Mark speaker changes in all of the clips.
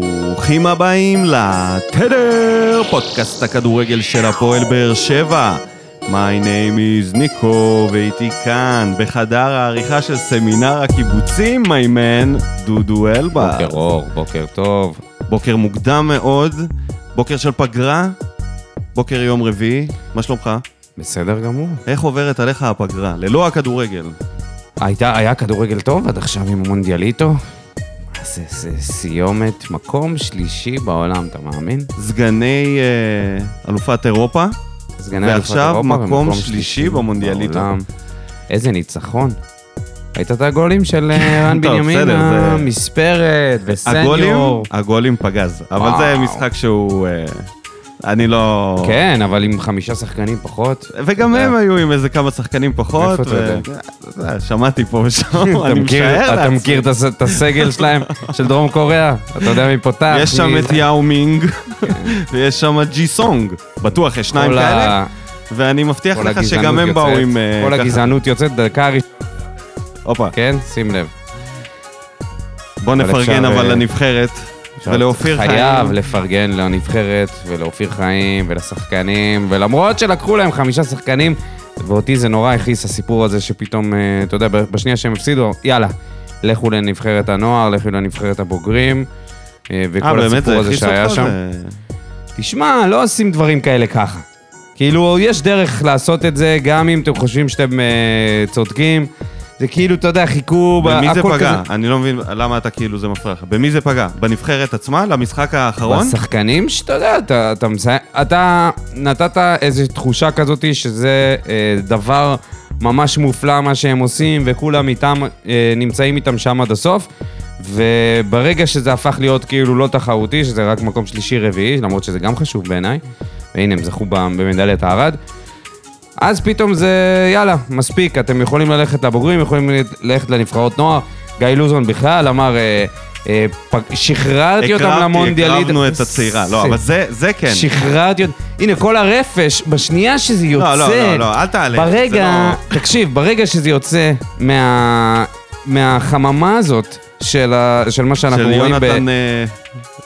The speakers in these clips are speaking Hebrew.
Speaker 1: ברוכים הבאים לתדר, פודקאסט הכדורגל של הפועל באר שבע. My name is ניקו, ואיתי כאן, בחדר העריכה של סמינר הקיבוצים, my man, דודו אלבה.
Speaker 2: בוקר אור, בוקר טוב.
Speaker 1: בוקר מוקדם מאוד, בוקר של פגרה, בוקר יום רביעי, מה שלומך?
Speaker 2: בסדר גמור.
Speaker 1: איך עוברת עליך הפגרה? ללא הכדורגל.
Speaker 2: הייתה, היה כדורגל טוב עד עכשיו עם מונדיאליטו? זה, זה סיומת מקום שלישי בעולם, אתה מאמין?
Speaker 1: סגני אה, אלופת אירופה,
Speaker 2: סגני אלופת
Speaker 1: ועכשיו
Speaker 2: אירופה
Speaker 1: מקום
Speaker 2: ומקום
Speaker 1: שלישי במונדיאליטו.
Speaker 2: בעולם. איזה ניצחון. ראית את הגולים של אה, רן
Speaker 1: טוב, בסדר,
Speaker 2: בנימינה,
Speaker 1: זה-
Speaker 2: מספרת
Speaker 1: הגולים,
Speaker 2: וסניור.
Speaker 1: הגולים פגז, אבל
Speaker 2: וואו.
Speaker 1: זה משחק שהוא... אה, אני לא...
Speaker 2: כן, אבל עם חמישה שחקנים פחות.
Speaker 1: וגם
Speaker 2: אתה יודע.
Speaker 1: הם היו עם איזה כמה שחקנים פחות.
Speaker 2: מאיפה אתה
Speaker 1: ו-
Speaker 2: יודע?
Speaker 1: אתה יודע, שמעתי פה ושם,
Speaker 2: אתה
Speaker 1: אני
Speaker 2: מכיר-
Speaker 1: משער
Speaker 2: אתה
Speaker 1: לעצמי.
Speaker 2: מכיר את הס- את הסגל שלהם, של דרום קוריאה? אתה יודע מי פותח?
Speaker 1: יש
Speaker 2: מי-
Speaker 1: שם את יאו מינג, ויש שם את ג'י סונג, בטוח, יש שניים
Speaker 2: כן. כל ה-
Speaker 1: כאלה, ואני מבטיח
Speaker 2: כל
Speaker 1: לך
Speaker 2: הגזענות
Speaker 1: שגם הם באו
Speaker 2: יוצאת.
Speaker 1: עם... אה,
Speaker 2: כל
Speaker 1: ככה.
Speaker 2: הגזענות יוצאת דקה ראשונה,
Speaker 1: הופה,
Speaker 2: כן? שים לב.
Speaker 1: בוא
Speaker 2: אבל
Speaker 1: נפרגן
Speaker 2: אפשר,
Speaker 1: אבל
Speaker 2: אה,
Speaker 1: לנבחרת, ולאופיר חיים.
Speaker 2: חייב לפרגן לנבחרת ולאופיר חיים ולשחקנים, ולמרות שלקחו להם חמישה שחקנים, ואותי זה נורא הכעיס הסיפור הזה שפתאום, אה, אתה יודע, ב- בשנייה שהם הפסידו, יאללה, לכו לנבחרת הנוער, לכו לנבחרת הבוגרים, אה,
Speaker 1: אה,
Speaker 2: וכל
Speaker 1: באמת,
Speaker 2: הסיפור
Speaker 1: זה
Speaker 2: הזה
Speaker 1: הכניס
Speaker 2: שהיה
Speaker 1: אותך?
Speaker 2: שם.
Speaker 1: זה-
Speaker 2: תשמע, לא עושים דברים כאלה ככה. כאילו, יש דרך לעשות את זה, גם אם אתם חושבים שאתם אה, צודקים. זה כאילו, אתה יודע, חיכו... ב-
Speaker 1: במי זה
Speaker 2: הכל
Speaker 1: פגע?
Speaker 2: כזה-
Speaker 1: אני לא מבין למה אתה כאילו זה מפריע לך. במי זה פגע? בנבחרת עצמה? למשחק האחרון?
Speaker 2: בשחקנים שאתה יודע, אתה, אתה מסיים... אתה נתת איזו תחושה כזאת שזה אה, דבר ממש מופלא מה שהם עושים, וכולם איתם, אה, נמצאים איתם שם עד הסוף. וברגע שזה הפך להיות כאילו לא תחרותי, שזה רק מקום שלישי-רביעי, למרות שזה גם חשוב בעיניי, והנה, הם זכו ב- במדליית הארד. אז פתאום זה, יאללה, מספיק, אתם יכולים ללכת לבוגרים, יכולים ללכת לנבחרות נוער. גיא לוזון בכלל אמר, אה, אה, פג- שחררתי אותם למונדיאליד.
Speaker 1: הקרבנו את הצעירה. לא, אבל זה, זה כן.
Speaker 2: שחררתי אותם. הנה, כל הרפש, בשנייה שזה יוצא...
Speaker 1: לא, לא, לא, לא, אל תעלה. זה
Speaker 2: ברגע,
Speaker 1: לא-
Speaker 2: תקשיב, ברגע שזה יוצא מה... מהחממה הזאת של, ה... של מה שאנחנו
Speaker 1: של
Speaker 2: רואים
Speaker 1: יונתן אה,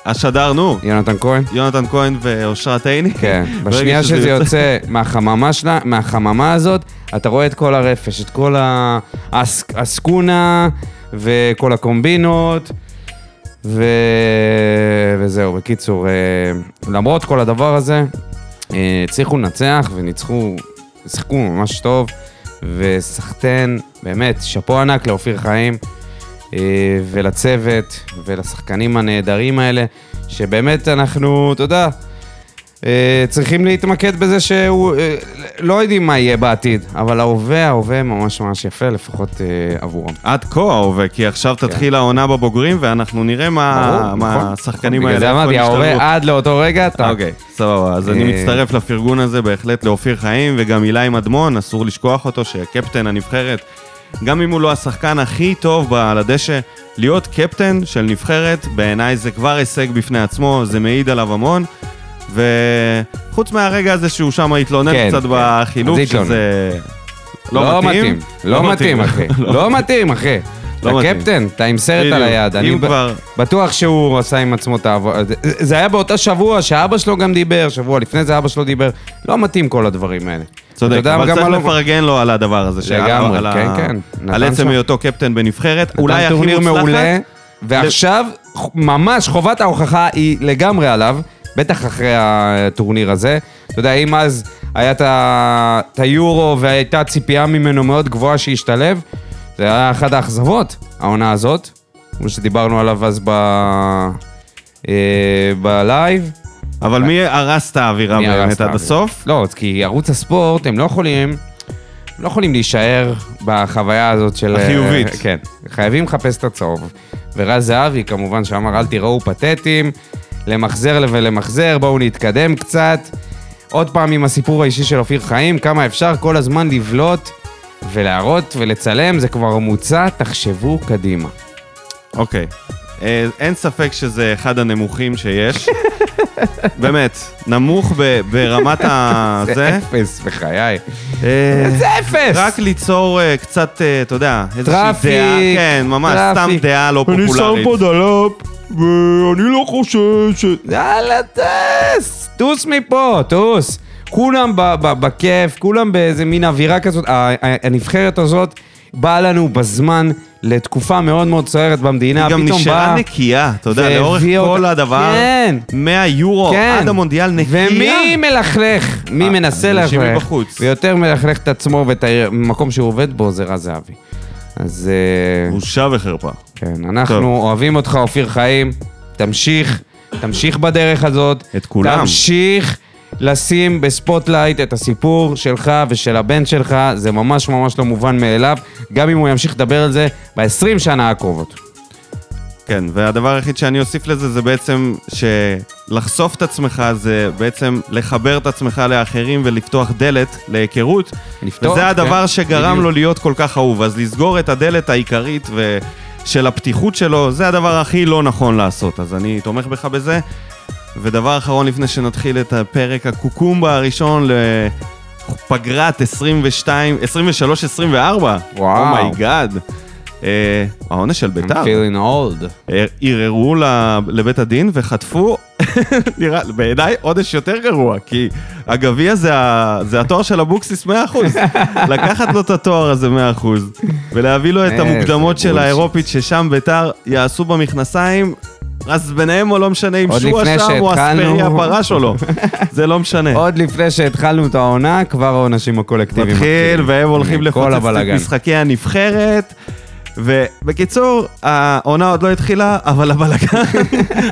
Speaker 1: השדר, נו.
Speaker 2: יונתן כהן?
Speaker 1: יונתן כהן ואושרת עיני.
Speaker 2: כן,
Speaker 1: ברגע
Speaker 2: בשנייה שזה יוצא מהחממה שלה, מהחממה הזאת, אתה רואה את כל הרפש, את כל ה- הס- הסקונה וכל הקומבינות. ו... וזהו, בקיצור, אה, למרות כל הדבר הזה, אה, הצליחו לנצח וניצחו, שיחקו ממש טוב, וסחטיין, באמת, שאפו ענק לאופיר חיים, אה, ולצוות, ולשחקנים הנהדרים האלה, שבאמת אנחנו, אתה יודע, אה, צריכים להתמקד בזה שהוא, אה, לא יודעים מה יהיה בעתיד, אבל ההווה, ההווה ממש ממש יפה, לפחות אה, עבורם.
Speaker 1: עד כה ההווה, כי עכשיו תתחיל העונה בבוגרים, ואנחנו נראה מה
Speaker 2: כן. ברור,
Speaker 1: מה
Speaker 2: נכון,
Speaker 1: השחקנים
Speaker 2: נכון,
Speaker 1: האלה...
Speaker 2: בגלל זה
Speaker 1: איפה
Speaker 2: אמרתי,
Speaker 1: הם ישתלבו.
Speaker 2: ההורה עד לאותו רגע, אתה...
Speaker 1: אוקיי, סבבה, אז אני
Speaker 2: אה,
Speaker 1: מצטרף לפרגון הזה בהחלט לאופיר חיים וגם אילי מדמון, אסור לשכוח אותו, שקפטן הנבחרת, גם אם הוא לא השחקן הכי טוב ב- על הדשא, להיות קפטן של נבחרת, בעיניי זה כבר הישג בפני עצמו, זה מעיד עליו המון, וחוץ מהרגע הזה שהוא שם התלונן
Speaker 2: כן,
Speaker 1: קצת
Speaker 2: כן.
Speaker 1: בחילוף,
Speaker 2: אז התלונן.
Speaker 1: שזה
Speaker 2: לא מתאים, לא מתאים, אחי. לא מתאים, אחי. אתה
Speaker 1: לא מתאים.
Speaker 2: קפטן, אתה עם סרט על
Speaker 1: בדיוק,
Speaker 2: היד. אני
Speaker 1: אם
Speaker 2: ב-
Speaker 1: כבר.
Speaker 2: בטוח שהוא עשה עם עצמו את העבודה. זה- זה היה באותה שבוע שאבא שלו גם דיבר, שבוע לפני זה אבא שלו דיבר. לא מתאים כל הדברים האלה. אתה
Speaker 1: צודק,
Speaker 2: יודע
Speaker 1: אבל
Speaker 2: גם
Speaker 1: צריך
Speaker 2: מה לא-
Speaker 1: לפרגן לו על הדבר הזה. שה-
Speaker 2: לגמרי,
Speaker 1: על ה-
Speaker 2: כן, כן.
Speaker 1: על
Speaker 2: נתן
Speaker 1: עצם
Speaker 2: שם.
Speaker 1: היותו קפטן בנבחרת,
Speaker 2: נתן
Speaker 1: אולי הכי
Speaker 2: טורניר
Speaker 1: מוצלח.
Speaker 2: מעולה,
Speaker 1: לה.
Speaker 2: ועכשיו ח- ממש חובת ההוכחה היא לגמרי עליו, בטח אחרי הטורניר הזה. אתה יודע, אם אז היה את ה- את היורו והייתה ציפייה ממנו מאוד גבוהה שישתלב, זה היה אחת האכזבות, העונה הזאת, כמו שדיברנו עליו אז ב... אה, בלייב.
Speaker 1: אבל מי הרס את האווירה
Speaker 2: אה. מי הרס
Speaker 1: אה, באמת
Speaker 2: את
Speaker 1: עד
Speaker 2: האוויר?
Speaker 1: הסוף?
Speaker 2: לא, אז כי ערוץ הספורט, הם לא יכולים, הם לא יכולים להישאר בחוויה הזאת של...
Speaker 1: החיובית.
Speaker 2: אה, כן. חייבים לחפש את הצהוב. ורז זהבי, כמובן, שאמר, אל תיראו פתטים, למחזר ולמחזר, בואו נתקדם קצת. עוד פעם עם הסיפור האישי של אופיר חיים, כמה אפשר כל הזמן לבלוט ולהראות ולצלם, זה כבר מוצע, תחשבו קדימה.
Speaker 1: אוקיי. אה, אין ספק שזה אחד הנמוכים שיש. באמת, נמוך ב- ברמת ה...
Speaker 2: זה
Speaker 1: זה.
Speaker 2: אפס, בחיי.
Speaker 1: אה,
Speaker 2: זה אפס!
Speaker 1: רק ליצור אה, קצת, אה, אתה יודע, איזושהי
Speaker 2: טראפיק,
Speaker 1: דעה, כן, ממש, סתם
Speaker 2: טראפיק.
Speaker 1: דעה לא פופולרית.
Speaker 2: דלאפ, ואני לא חושש... ש-" יאללה, טס! טוס מפה, טוס. כולם ב- ב- בכיף, כולם באיזה מין אווירה כזאת. ה- ה- הנבחרת הזאת באה לנו בזמן לתקופה מאוד מאוד סוערת במדינה.
Speaker 1: היא גם
Speaker 2: פתאום
Speaker 1: נשארה
Speaker 2: באה-
Speaker 1: נקייה, אתה יודע,
Speaker 2: והביאה
Speaker 1: לאורך כל
Speaker 2: אותה-
Speaker 1: הדבר,
Speaker 2: כן.
Speaker 1: מהיורו
Speaker 2: כן.
Speaker 1: עד המונדיאל נקייה.
Speaker 2: ומי מלכלך? מי
Speaker 1: אה,
Speaker 2: מנסה
Speaker 1: אנשים
Speaker 2: ללכלך?
Speaker 1: מבחוץ.
Speaker 2: ויותר מלכלך את עצמו ואת המקום שהוא עובד בו זה רז זהבי. אז אה,
Speaker 1: בושה וחרפה.
Speaker 2: כן, אנחנו
Speaker 1: טוב.
Speaker 2: אוהבים אותך, אופיר חיים. תמשיך, תמשיך בדרך הזאת.
Speaker 1: את כולם.
Speaker 2: תמשיך לשים בספוטלייט את הסיפור שלך ושל הבן שלך. זה ממש ממש לא מובן מאליו, גם אם הוא ימשיך לדבר על זה ב-20 שנה הקרובות.
Speaker 1: כן, והדבר היחיד שאני אוסיף לזה זה בעצם שלחשוף את עצמך זה בעצם לחבר את עצמך לאחרים ולפתוח דלת להיכרות.
Speaker 2: לפתוח,
Speaker 1: וזה הדבר
Speaker 2: כן,
Speaker 1: שגרם
Speaker 2: בדיוק.
Speaker 1: לו להיות כל כך אהוב. אז לסגור את הדלת העיקרית ו... של הפתיחות שלו, זה הדבר הכי לא נכון לעשות. אז אני תומך בך בזה. ודבר אחרון לפני שנתחיל את הפרק הקוקומבה הראשון לפגרת 22, 23-24.
Speaker 2: וואו.
Speaker 1: אומייגאד. Oh אה, העונש של
Speaker 2: I'm
Speaker 1: ביתר.
Speaker 2: feeling old.
Speaker 1: ערערו ל- לבית הדין וחטפו, נראה, בעיניי עונש יותר גרוע, כי הגביע זה, ה- זה התואר של אבוקסיס 100%. לקחת לו את התואר הזה 100% ולהביא לו את
Speaker 2: איזה
Speaker 1: המוקדמות של
Speaker 2: בולשיט.
Speaker 1: האירופית, ששם ביתר יעשו במכנסיים, אז ביניהם או לא משנה אם
Speaker 2: עוד
Speaker 1: שועה
Speaker 2: לפני
Speaker 1: שם או
Speaker 2: שהתחלנו.
Speaker 1: אספריה פרש או לא, זה לא משנה.
Speaker 2: עוד לפני שהתחלנו את העונה, כבר העונשים הקולקטיביים.
Speaker 1: מתחיל,
Speaker 2: מתחילים.
Speaker 1: והם הולכים
Speaker 2: כל
Speaker 1: לפוצץ את
Speaker 2: הבלגן.
Speaker 1: משחקי הנבחרת. ובקיצור, העונה עוד לא התחילה, אבל הבלגן,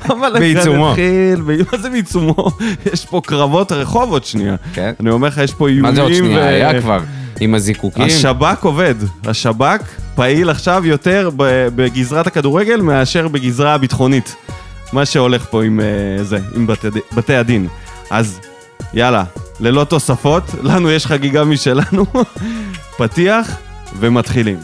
Speaker 1: הבלגן
Speaker 2: בעיצומו.
Speaker 1: התחיל, ב- מה זה בעיצומו? יש פה קרבות רחוב עוד שנייה.
Speaker 2: כן.
Speaker 1: אני אומר לך, יש פה איומים.
Speaker 2: מה זה עוד
Speaker 1: ו-
Speaker 2: שנייה? היה כבר. עם הזיקוקים.
Speaker 1: השב"כ עובד, השב"כ פעיל עכשיו יותר ב- בגזרת הכדורגל מאשר בגזרה הביטחונית. מה שהולך פה עם אה, זה, עם בתי, בתי הדין. אז יאללה, ללא תוספות, לנו יש חגיגה משלנו, פתיח ומתחילים.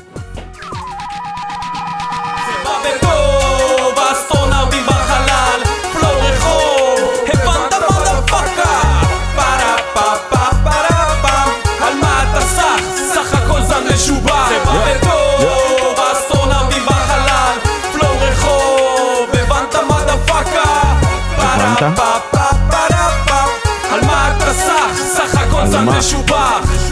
Speaker 3: בגובה, אסטרונאוטים בחלל, פלו רחוב, הבנת מודפאקה. פרה פה פה פרה פם, על מה אתה סח? סך הכל זן משובח. זה בא בגובה, אסטרונאוטים בחלל, פלו רחוב, הבנת מודפאקה. פרה
Speaker 1: הבנת?
Speaker 3: פה פה פרה פם, על מה אתה סח? סך הכל זן
Speaker 1: מה?
Speaker 3: משובח.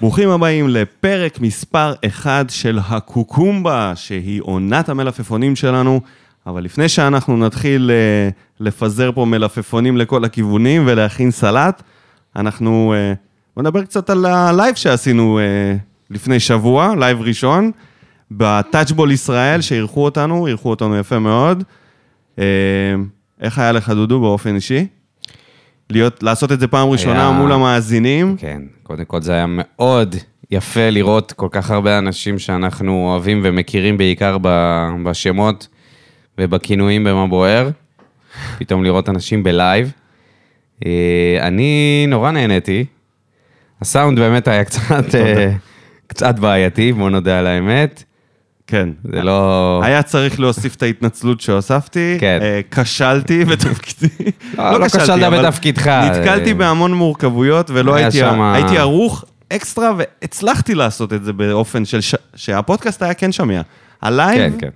Speaker 1: ברוכים הבאים לפרק מספר 1 של הקוקומבה, שהיא עונת המלפפונים שלנו. אבל לפני שאנחנו נתחיל אה, לפזר פה מלפפונים לכל הכיוונים ולהכין סלט, אנחנו אה, בוא נדבר קצת על הלייב שעשינו אה, לפני שבוע, לייב ראשון, בטאצ'בול ישראל, שאירחו אותנו, אירחו אותנו יפה מאוד. אה, איך היה לך, דודו, באופן אישי? להיות, לעשות את זה פעם ראשונה
Speaker 2: היה-
Speaker 1: מול המאזינים.
Speaker 2: כן, קודם כל זה היה מאוד יפה לראות כל כך הרבה אנשים שאנחנו אוהבים ומכירים בעיקר ב- בשמות ובכינויים במה בוער. פתאום לראות אנשים בלייב. אה, אני נורא נהניתי. הסאונד באמת היה קצת, אה, קצת בעייתי, בוא נודה על האמת.
Speaker 1: כן.
Speaker 2: זה לא...
Speaker 1: היה צריך להוסיף את ההתנצלות שהוספתי,
Speaker 2: כן.
Speaker 1: אה, כשלתי בתפקידי.
Speaker 2: לא, לא
Speaker 1: כשלתי,
Speaker 2: כשלת
Speaker 1: אבל
Speaker 2: בתפקידך.
Speaker 1: נתקלתי
Speaker 2: אה,
Speaker 1: בהמון מורכבויות ולא
Speaker 2: היה
Speaker 1: הייתי,
Speaker 2: שמה-
Speaker 1: הייתי ערוך אקסטרה והצלחתי לעשות את זה באופן של, ש... שהפודקאסט היה כן שמיע.
Speaker 2: כן,
Speaker 1: הלייב,
Speaker 2: כן.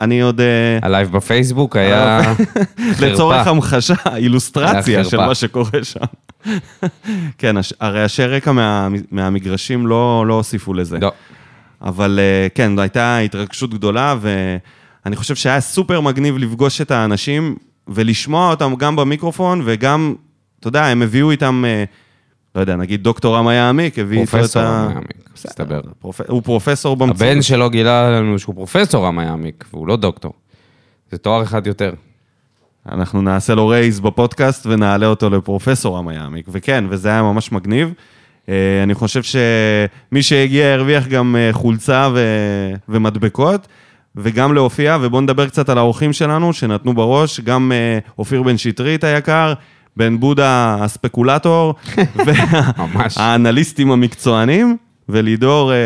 Speaker 1: אני עוד, אה,
Speaker 2: הלייב בפייסבוק היה חרפה.
Speaker 1: לצורך המחשה, אילוסטרציה
Speaker 2: היה
Speaker 1: של
Speaker 2: חרפה.
Speaker 1: מה שקורה שם. כן, הש- הרי אנשי רקע מה- מהמגרשים לא לא הוסיפו לזה.
Speaker 2: לא,
Speaker 1: אבל אה, כן, זו הייתה התרגשות גדולה, ואני חושב שהיה סופר מגניב לפגוש את האנשים ולשמוע אותם גם במיקרופון, וגם, אתה יודע, הם הביאו איתם, אה, לא יודע, נגיד דוקטור עמי העמיק, הביא איתו את
Speaker 2: פרופסור
Speaker 1: ה...
Speaker 2: מעמיק, מסתבר.
Speaker 1: פרופ- הוא פרופסור במציאות.
Speaker 2: הבן שלו גילה לנו שהוא פרופסור המיאמיק, והוא לא דוקטור. זה תואר אחד יותר.
Speaker 1: אנחנו נעשה לו רייז בפודקאסט ונעלה אותו לפרופסור עמי העמיק. וכן, וזה היה ממש מגניב. אה, אני חושב שמי שהגיע הרוויח גם אה, חולצה ו... ומדבקות, וגם להופיע, ובואו נדבר קצת על האורחים שלנו שנתנו בראש, גם אה, אופיר בן שטרית היקר, בן בודה הספקולטור,
Speaker 2: ממש.
Speaker 1: והאנליסטים המקצוענים, ולידור, אה,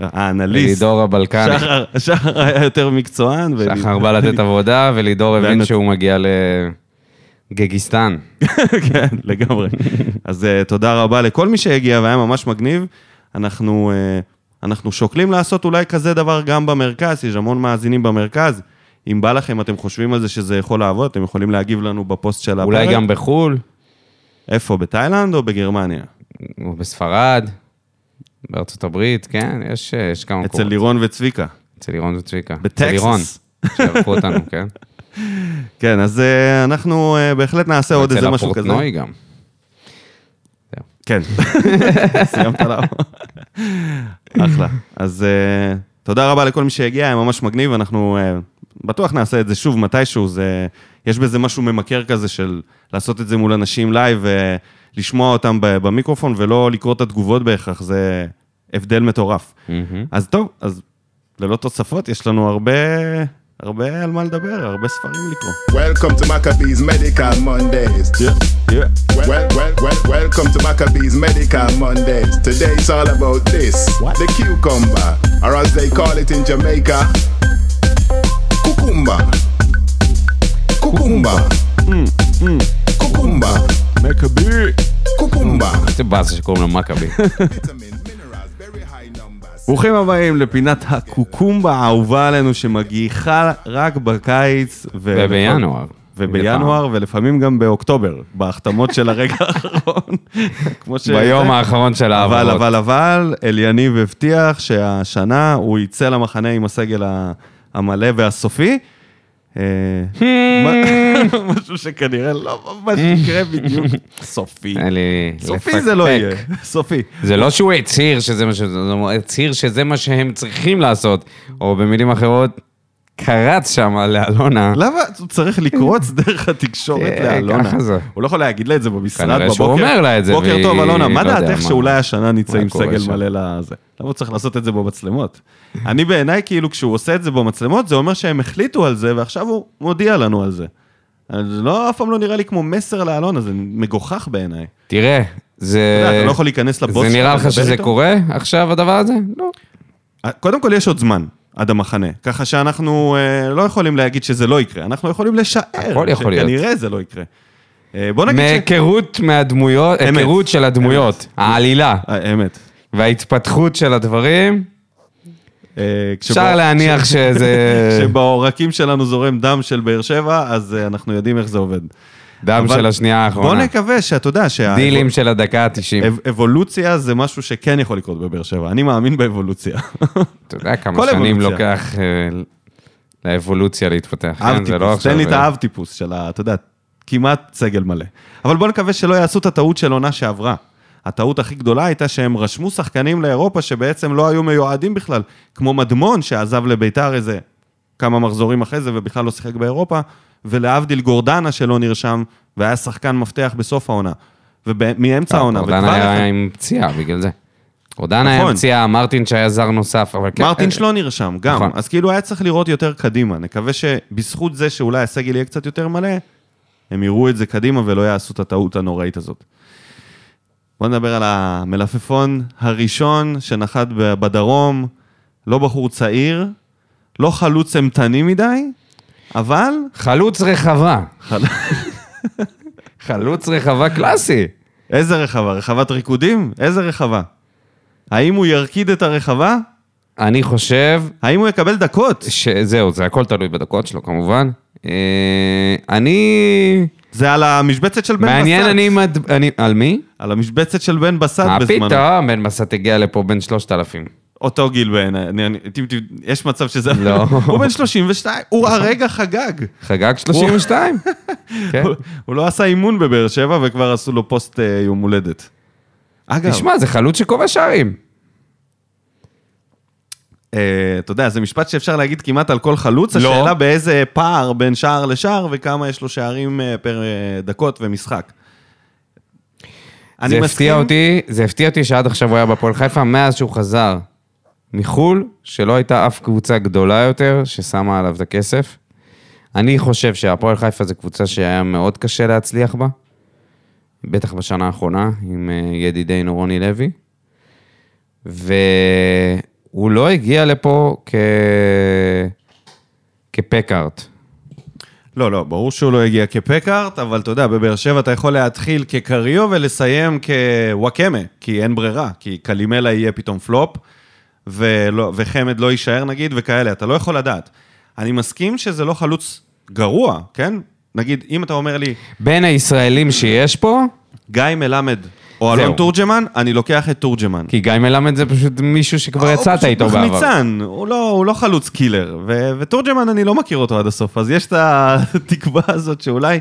Speaker 1: האנליסט,
Speaker 2: לידור הבלקני.
Speaker 1: שחר, שחר היה יותר מקצוען. ולידור-
Speaker 2: שחר בא לתת עבודה, ולידור
Speaker 1: והנת-
Speaker 2: הבין שהוא מגיע לגגיסטן.
Speaker 1: כן, לגמרי. אז אה, תודה רבה לכל מי שהגיע והיה ממש מגניב. אנחנו, אה, אנחנו שוקלים לעשות אולי כזה דבר גם במרכז, יש המון מאזינים במרכז. אם בא לכם, אתם חושבים על זה שזה יכול לעבוד, אתם יכולים להגיב לנו בפוסט של הפרק.
Speaker 2: אולי גם בחו"ל,
Speaker 1: איפה, בתאילנד או בגרמניה?
Speaker 2: או בספרד, בארצות הברית, כן, יש, אה, יש כמה
Speaker 1: אצל
Speaker 2: מקומות.
Speaker 1: לירון וצביקה.
Speaker 2: אצל לירון וצביקה. אצל
Speaker 1: בטקסס.
Speaker 2: לירון, שערכו אותנו, כן.
Speaker 1: כן, אז אה, אנחנו אה, בהחלט נעשה עוד איזה משהו
Speaker 2: אצל
Speaker 1: כזה.
Speaker 2: הפורטנוי גם.
Speaker 1: כן. סיימת עליו. אחלה. אז אה, תודה רבה לכל מי שהגיע, היה ממש מגניב, אנחנו אה, בטוח נעשה את זה שוב מתישהו, זה, יש בזה משהו ממכר כזה של לעשות את זה מול אנשים לייב, ולשמוע אותם ב- במיקרופון ולא לקרוא את התגובות בהכרח, זה הבדל מטורף.
Speaker 2: מהמם.
Speaker 1: אז טוב, אז ללא תוספות, יש לנו הרבה, הרבה על מה לדבר, הרבה ספרים לקרוא.
Speaker 4: Welcome to Maccabees Medical Mondays. Well, well, well, welcome to Maccabees Medical Mondays. Today it's all about this the cucumber, or as they call it in Jamaica, cucumba. Cucumba. Cucumba.
Speaker 1: מקבי.
Speaker 4: Cucumba.
Speaker 2: איזה באסה שקוראים לו מכבי.
Speaker 4: Vitamins, minerals, very high numbers.
Speaker 1: ברוכים הבאים לפינת הקוקומבה האהובה עלינו, שמגיחה רק בקיץ. ו-
Speaker 2: ובינואר.
Speaker 1: ובינואר, ולפעמים גם באוקטובר, בהחתמות של הרגע האחרון. כמו ש...
Speaker 2: ביום האחרון של
Speaker 1: אבל,
Speaker 2: העברות.
Speaker 1: אבל, אבל, אליניב הבטיח שהשנה הוא יצא למחנה עם הסגל ה- המלא והסופי. אה,
Speaker 2: Hmm.
Speaker 1: מה- משהו שכנראה לא ממש יקרה בדיוק. סופי.
Speaker 2: אין לי...
Speaker 1: סופי
Speaker 2: לפקפק.
Speaker 1: זה לא יהיה. סופי.
Speaker 2: זה לא שהוא הצהיר שזה מה ש... הוא הצהיר שזה מה שהם צריכים לעשות, או במילים אחרות, קרץ שם לאלונה.
Speaker 1: למה הוא צריך לקרוץ דרך התקשורת
Speaker 2: כן,
Speaker 1: לא, לאלונה?
Speaker 2: ככה זה.
Speaker 1: הוא לא יכול להגיד לה את זה במשרד בבוקר.
Speaker 2: כנראה שהוא אומר לה את זה,
Speaker 1: בוקר
Speaker 2: והיא-
Speaker 1: טוב, אלונה, מה
Speaker 2: לא יודע
Speaker 1: דעתך
Speaker 2: מה-
Speaker 1: שאולי השנה נצא
Speaker 2: מה
Speaker 1: עם
Speaker 2: קורה
Speaker 1: סגל
Speaker 2: שם?"
Speaker 1: מלא לזה? למה הוא צריך לעשות את זה במצלמות? אני בעיניי, כאילו, כשהוא עושה את זה במצלמות, זה אומר שהם החליטו על זה, ועכשיו הוא מודיע לנו על זה. אז זה לא, אף פעם לא נראה לי כמו מסר לאלונה, זה מגוחך בעיניי.
Speaker 2: תראה,
Speaker 1: אתה יודע,
Speaker 2: זה...
Speaker 1: אתה לא יכול להיכנס לבוס
Speaker 2: אה, זה
Speaker 1: שלך
Speaker 2: נראה לך
Speaker 1: לדבר
Speaker 2: שזה
Speaker 1: איתו?
Speaker 2: קורה עכשיו, הדבר הזה? לא.
Speaker 1: קודם כל, יש עוד זמן. עד המחנה, ככה שאנחנו אה, לא יכולים להגיד שזה לא יקרה, אנחנו יכולים לשער,
Speaker 2: הכל יכול להיות. כן.
Speaker 1: שכנראה זה לא יקרה. אה, בוא נגיד ש...
Speaker 2: מהיכרות מהדמויות,
Speaker 1: אמת.
Speaker 2: היכרות של הדמויות, העלילה
Speaker 1: האמת.
Speaker 2: וההתפתחות של הדברים,
Speaker 1: אה, כשבא-
Speaker 2: אפשר להניח שזה
Speaker 1: כשבעורקים שלנו זורם דם של באר שבע, אז אה, אנחנו יודעים איך זה עובד.
Speaker 2: דם
Speaker 1: אבל
Speaker 2: של השנייה
Speaker 1: בוא
Speaker 2: האחרונה.
Speaker 1: נקווה שאתה יודע שה...
Speaker 2: דילים של הדקה ה-90.
Speaker 1: אב- אבולוציה זה משהו שכן יכול לקרות בבאר שבע, אני מאמין באבולוציה.
Speaker 2: אתה יודע כמה
Speaker 1: כל
Speaker 2: שנים
Speaker 1: אבולוציה.
Speaker 2: לוקח אה, לאבולוציה להתפתח. כן?
Speaker 1: אב
Speaker 2: זה
Speaker 1: טיפוס,
Speaker 2: לא עכשיו,
Speaker 1: תן לי את
Speaker 2: אה,
Speaker 1: האב טיפוס של ה... אתה יודע, כמעט סגל מלא. אבל בוא נקווה שלא יעשו את הטעות של עונה שעברה. הטעות הכי גדולה הייתה שהם רשמו שחקנים לאירופה שבעצם לא היו מיועדים בכלל, כמו מדמון שעזב לביתר איזה כמה מחזורים אחרי זה ובכלל לא שיחק באירופה, ולהבדיל גורדנה שלא נרשם והיה שחקן מפתח בסוף העונה. אה, ומאמצע העונה,
Speaker 2: גורדן
Speaker 1: וכבר
Speaker 2: היה
Speaker 1: אחד-
Speaker 2: עם פציעה בגלל זה. גורדן היה
Speaker 1: נכון.
Speaker 2: עם פציעה, מרטין שהיה זר נוסף, אבל כן. אה,
Speaker 1: מרטינש לא נרשם גם,
Speaker 2: נכון.
Speaker 1: אז כאילו היה צריך לראות יותר קדימה. נקווה שבזכות זה שאולי הסגל יהיה קצת יותר מלא, הם יראו את זה קדימה ולא יעשו את הטעות הנוראית הזאת. בוא נדבר על המלפפון הראשון שנחת ב- בדרום, לא בחור צעיר, לא חלוץ אימתני מדי, אבל...
Speaker 2: חלוץ רחבה.
Speaker 1: חל-
Speaker 2: חלוץ רחבה קלאסי.
Speaker 1: איזה רחבה? רחבת ריקודים? איזה רחבה? האם הוא ירקיד את הרחבה?
Speaker 2: אני חושב
Speaker 1: האם הוא יקבל דקות?
Speaker 2: שזהו, זה הכל תלוי בדקות שלו כמובן. אה, אני...
Speaker 1: זה על המשבצת של בן בסט.
Speaker 2: מעניין, אני... מד- אני- על מי?
Speaker 1: על המשבצת של בן בסט
Speaker 2: מה
Speaker 1: בזמנו.
Speaker 2: פתאום, בן מסת הגיע לפה בן 3,000.
Speaker 1: אותו גיל בעיניי, אני- אני- טיפ- טיפ- יש מצב שזה...
Speaker 2: לא. נכון. כן.
Speaker 1: הוא בן 32, הוא הרגע חגג.
Speaker 2: חגג 32. כן.
Speaker 1: הוא- הוא לא עשה אימון בבאר שבע וכבר עשו לו פוסט אה, יום הולדת. אגב,
Speaker 2: תשמע, זה חלוץ שכובש שערים.
Speaker 1: אה, אתה יודע, זה משפט שאפשר להגיד כמעט על כל חלוץ,
Speaker 2: לא.
Speaker 1: השאלה באיזה פער בין שער לשער וכמה יש לו שערים אה, פר אה, דקות ומשחק. אני
Speaker 2: זה
Speaker 1: מסכים-
Speaker 2: הפתיע אותי, זה הפתיע אותי שעד עכשיו הוא היה בהפועל חיפה, מאז שהוא חזר מחו"ל, שלא הייתה אף קבוצה גדולה יותר ששמה עליו את הכסף. אני חושב שהפועל חיפה זו קבוצה שהיה מאוד קשה להצליח בה, בטח בשנה האחרונה, עם אה, ידידנו רוני לוי. והוא לא הגיע לפה כ... כפקארט.
Speaker 1: לא, לא, ברור שהוא לא הגיע כפקארט, אבל אתה יודע, בבאר שבע אתה יכול להתחיל כקריו ולסיים כוואקמה, כי אין ברירה, כי קלימלה יהיה פתאום פלופ, ולא, וחמד לא יישאר נגיד, וכאלה, אתה לא יכול לדעת. אני מסכים שזה לא חלוץ גרוע, כן? נגיד, אם אתה אומר לי,
Speaker 2: בין הישראלים שיש פה,
Speaker 1: גיא מלמד או אלון
Speaker 2: זהו.
Speaker 1: תורג'מן, אני לוקח את תורג'מן.
Speaker 2: כי גיא מלמד זה פשוט מישהו שכבר יצאת איתו
Speaker 1: אה, לא, הוא פשוט
Speaker 2: בעבר.
Speaker 1: מחמיצן, הוא לא, הוא לא חלוץ קילר, ו- ותורג'מן אני לא מכיר אותו עד הסוף, אז יש את התקווה הזאת שאולי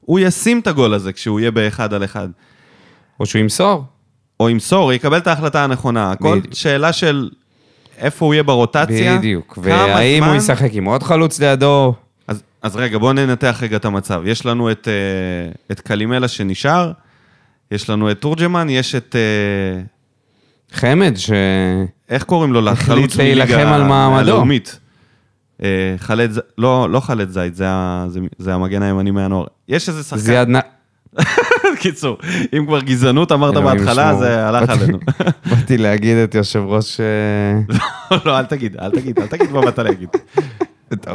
Speaker 1: הוא ישים את הגול הזה כשהוא יהיה באחד על אחד.
Speaker 2: או שהוא ימסור.
Speaker 1: או ימסור, יקבל את ההחלטה הנכונה. הכל
Speaker 2: בדיוק.
Speaker 1: שאלה של איפה הוא יהיה ברוטציה.
Speaker 2: בדיוק.
Speaker 1: כמה
Speaker 2: והאם הוא
Speaker 1: זמן.
Speaker 2: ישחק עם עוד חלוץ לידו?
Speaker 1: אז, אז רגע, בואו ננתח רגע את המצב. יש לנו את, אה, את קלימלה שנשאר, יש לנו את תורג'מן, יש את... אה,
Speaker 2: חמד, ש...
Speaker 1: איך קוראים לו? לחלוץ
Speaker 2: להילחם על מעמדו.
Speaker 1: הלאומית. אה, חלד, ז- לא, לא חלד זית, זה, ה- זה, זה המגן הימני מהנוער. יש איזה שחקן,
Speaker 2: זיאד נ...
Speaker 1: קיצור, אם כבר גזענות אמרת
Speaker 2: אלוהים
Speaker 1: בהתחלה,
Speaker 2: ישמור.
Speaker 1: זה הלך עלינו.
Speaker 2: באתי להגיד את יושב ראש... אה,
Speaker 1: לא, אל תגיד, אל תגיד, אל תגיד מה באת להגיד.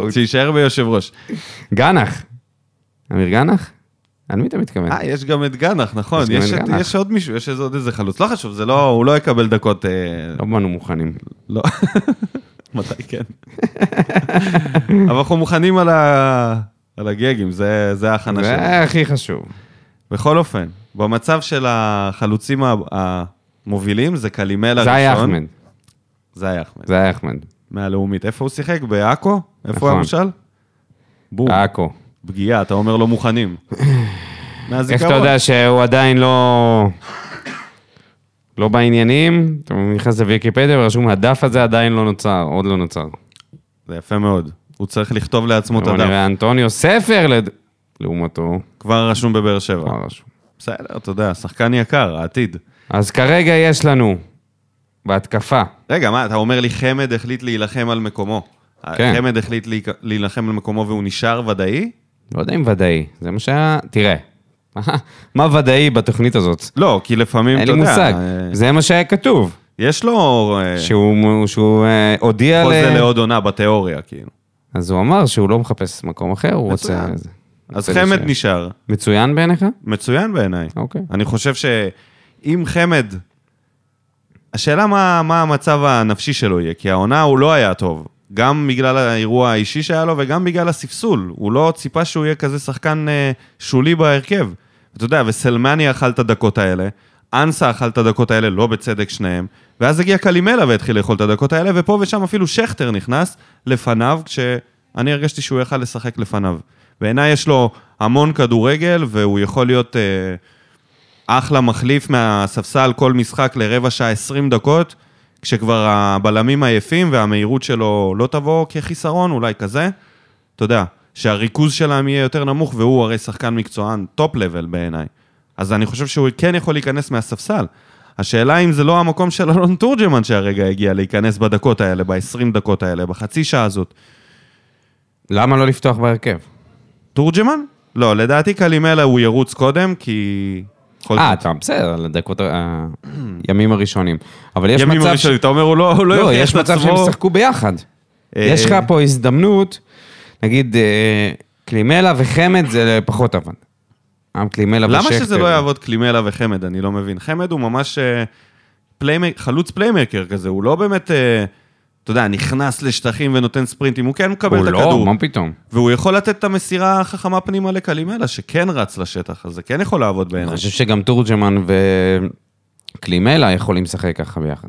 Speaker 1: שיישאר ביושב ראש.
Speaker 2: גנח. אמיר גנח? על מי אתה מתכוון?
Speaker 1: אה, יש גם את גנח, נכון.
Speaker 2: כן. יש גם
Speaker 1: יש
Speaker 2: את
Speaker 1: את-
Speaker 2: גנח.
Speaker 1: יש עוד מישהו, יש איזה- עוד איזה חלוץ. לא חשוב, זה לא, הוא לא יקבל דקות. אה,
Speaker 2: לא באנו מוכנים.
Speaker 1: לא. מתי כן? אבל אנחנו מוכנים על ה- על הגגים, זה זה ההכנה שלנו.
Speaker 2: זה הכי חשוב.
Speaker 1: בכל אופן, במצב של החלוצים ה- המובילים, זה קלימל הראשון.
Speaker 2: זה היה אחמד.
Speaker 1: זה היה אחמד.
Speaker 2: זה היה אחמד.
Speaker 1: מהלאומית. איפה הוא שיחק? בעכו? איפה הוא היה
Speaker 2: נכון. אה.
Speaker 1: מושל? בום.
Speaker 2: עכו.
Speaker 1: פגיעה, אתה אומר לא מוכנים.
Speaker 2: איך
Speaker 1: מהזיכרון.
Speaker 2: אתה יודע שהוא עדיין לא... לא בעניינים, אתה נכנס לוויקיפדיה ורשום, הדף הזה עדיין לא נוצר, עוד לא נוצר.
Speaker 1: זה יפה מאוד. הוא צריך לכתוב לעצמו את
Speaker 2: בוא
Speaker 1: הדף.
Speaker 2: נראה, אנטוניו ספר לד... לעומתו,
Speaker 1: כבר רשום בבאר שבע.
Speaker 2: כבר רשום.
Speaker 1: בסדר, אתה יודע, שחקן יקר, העתיד.
Speaker 2: אז כרגע יש לנו, בהתקפה,
Speaker 1: רגע, מה, אתה אומר לי חמד החליט להילחם על מקומו.
Speaker 2: כן.
Speaker 1: חמד החליט להיק- להילחם על מקומו והוא נשאר ודאי?
Speaker 2: לא יודע אם ודאי, זה מה שהיה, תראה, מה ודאי בתוכנית הזאת?
Speaker 1: לא, כי לפעמים,
Speaker 2: אין
Speaker 1: אתה
Speaker 2: לי
Speaker 1: יודע,
Speaker 2: מושג,
Speaker 1: אה,
Speaker 2: זה מה שהיה כתוב,
Speaker 1: יש לו אה,
Speaker 2: שהוא שהוא, אה, הודיע ל...
Speaker 1: חוזה לעוד עונה בתיאוריה, כאילו.
Speaker 2: אז הוא אמר שהוא לא מחפש מקום אחר, הוא רוצה...
Speaker 1: מצוין.
Speaker 2: זה.
Speaker 1: אז
Speaker 2: רוצה
Speaker 1: חמד
Speaker 2: להישאר.
Speaker 1: נשאר,
Speaker 2: מצוין בעיניך?
Speaker 1: מצוין בעיניי.
Speaker 2: אוקיי.
Speaker 1: אני חושב שאם חמד... השאלה מה, מה המצב הנפשי שלו יהיה, כי העונה הוא לא היה טוב. גם בגלל האירוע האישי שהיה לו וגם בגלל הספסול. הוא לא ציפה שהוא יהיה כזה שחקן אה, שולי בהרכב. אתה יודע, וסלמני אכל את הדקות האלה, אנסה אכל את הדקות האלה, לא בצדק שניהם, ואז הגיע קלימלה והתחיל לאכול את הדקות האלה, ופה ושם אפילו שכטר נכנס לפניו, כשאני הרגשתי שהוא יכל לשחק לפניו. בעיניי יש לו המון כדורגל, והוא יכול להיות... אה, אחלה מחליף מהספסל כל משחק לרבע שעה 20 דקות, כשכבר הבלמים עייפים והמהירות שלו לא תבוא כחיסרון, אולי כזה. אתה יודע, שהריכוז שלהם יהיה יותר נמוך, והוא הרי שחקן מקצוען טופ לבל בעיניי. אז אני חושב שהוא כן יכול להיכנס מהספסל. השאלה אם זה לא המקום של אלון תורג'מן שהרגע הגיע להיכנס בדקות האלה, ב-20 דקות האלה, בחצי שעה הזאת.
Speaker 2: למה לא לפתוח בהרכב?
Speaker 1: תורג'מן? לא, לדעתי קלימלה הוא ירוץ קודם, כי... יכול
Speaker 2: אה,
Speaker 1: להיות-
Speaker 2: אתה בסדר, לדקות ה- הימים הראשונים. אבל יש
Speaker 1: ימים
Speaker 2: מצב... ש-
Speaker 1: הראשונים, אתה אומר, הוא לא, הוא לא,
Speaker 2: לא,
Speaker 1: יוכיח
Speaker 2: יש
Speaker 1: את
Speaker 2: מצב שהם
Speaker 1: עצמו.
Speaker 2: ישחקו ביחד.
Speaker 1: אה,
Speaker 2: יש לך
Speaker 1: אה.
Speaker 2: פה הזדמנות, נגיד אה, קלימלה וחמד זה פחות עבד. גם קלימלה ושכטר.
Speaker 1: למה שזה לא יעבוד קלימלה וחמד? אני לא מבין. חמד הוא ממש אה, פליימק, חלוץ פליימקר כזה, הוא לא באמת, אה, אתה יודע, נכנס לשטחים ונותן ספרינטים, הוא כן מקבל
Speaker 2: הוא
Speaker 1: את
Speaker 2: לא,
Speaker 1: הכדור.
Speaker 2: מה פתאום?
Speaker 1: והוא יכול לתת את המסירה החכמה פנימה לקלימלה, שכן רץ לשטח, אז זה כן יכול לעבוד
Speaker 2: אני
Speaker 1: בעיניי.
Speaker 2: חושב שגם תורג'מן וקלימלה יכולים לשחק ככה ביחד.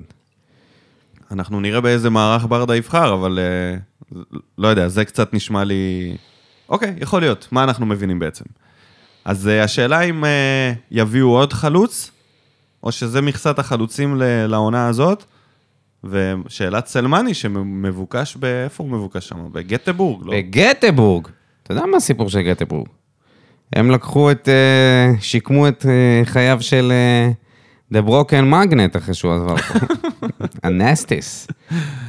Speaker 1: אנחנו נראה באיזה מערך ברדה יבחר, אבל אה, לא יודע, זה קצת נשמע לי... אוקיי, יכול להיות, מה אנחנו מבינים בעצם? אז אה, השאלה אם אה, יביאו עוד חלוץ, או שזה מכסת החלוצים ל- לעונה הזאת, ושאלת סלמני שמבוקש, ב- איפה הוא מבוקש שם? בגטבורג, לא?
Speaker 2: בגטבורג. אתה יודע מה הסיפור של גטבורג? הם לקחו את, אה, שיקמו את אה, חייו של דה ברוקן מגנט אחרי שהוא עבר פה. הנסטיס.